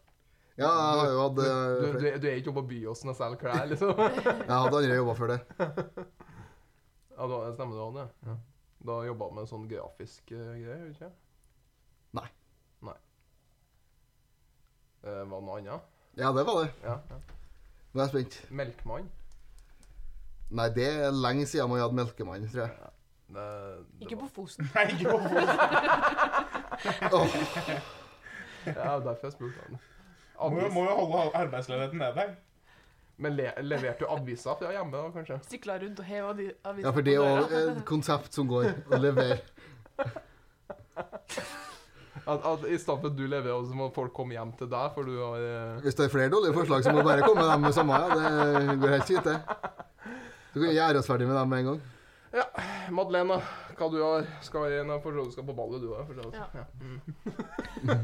Ja, jeg har jo hatt Du, eh, du, du, flere- du er ikke oppe på Byåsen og selger klær, liksom. ja, Jeg hadde andre jobber før det. da stemmer det, Anne. Ja. Da jobba du med sånn grafisk uh, greie, gjorde du ikke? Nei. Nei. Eh, var det noe annet? Ja, det var det. Ja, ja. Nå er jeg spent. Melkmann? Nei, det er lenge siden man hadde Melkemann, tror jeg. Det, det Ikke var- på Fosen. Nei, ikke på Fosen. Åh, Ja, derfor jeg spurte han. Må jo- Avis. Må jo holde arbeidsledigheten nede. Men le, leverte du aviser fra hjemme, da, kanskje? Sykla rundt og heva de avisene ja, for det er jo et konsept som går å levere. At, at I stedet for at du leverer, så må folk komme hjem til deg, for du har eh, Hvis det er flere dårlige forslag, så må du bare komme med dem med samme. Ja. Det går helt fint, det. Så kan vi gjøre oss ferdig med dem med en gang. eh, Madeleine, hva du har skal i en for så vidt skal på ballet, du òg. for så vidt. Ja. Ja.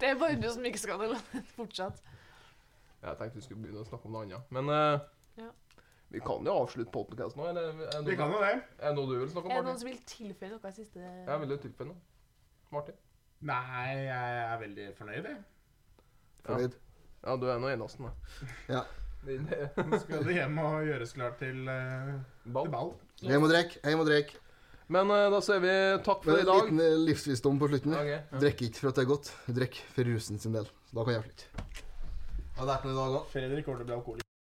Det er bare du som ikke skal det. Fortsatt. Jeg tenkte vi skulle begynne å snakke om noe annet. Men eh, Ja. Vi kan jo avslutte podkasten nå, eller er det Vi kan noe, jo det. er det noe du vil snakke Er det om, noen Martin? som vil tilføye noe i siste Jeg er veldig typen nå. Martin? Nei, jeg er veldig fornøyd, jeg. Fornøyd. Ja, du er nå eneste, da. Ja. Din, eh, Nå skal du hjem og gjøres klar til, eh, ball. til ball. Jeg må drikke. Jeg må drikke. Men eh, da sier vi takk Men for i en dag. liten eh, livsvisdom på slutten. Ok, ja. Drikk ikke for at det er godt. Drikk for rusen sin del. Da kan jeg slutte. Jeg har lært noe i dag òg. Fredrik kommer til å bli alkoholiker.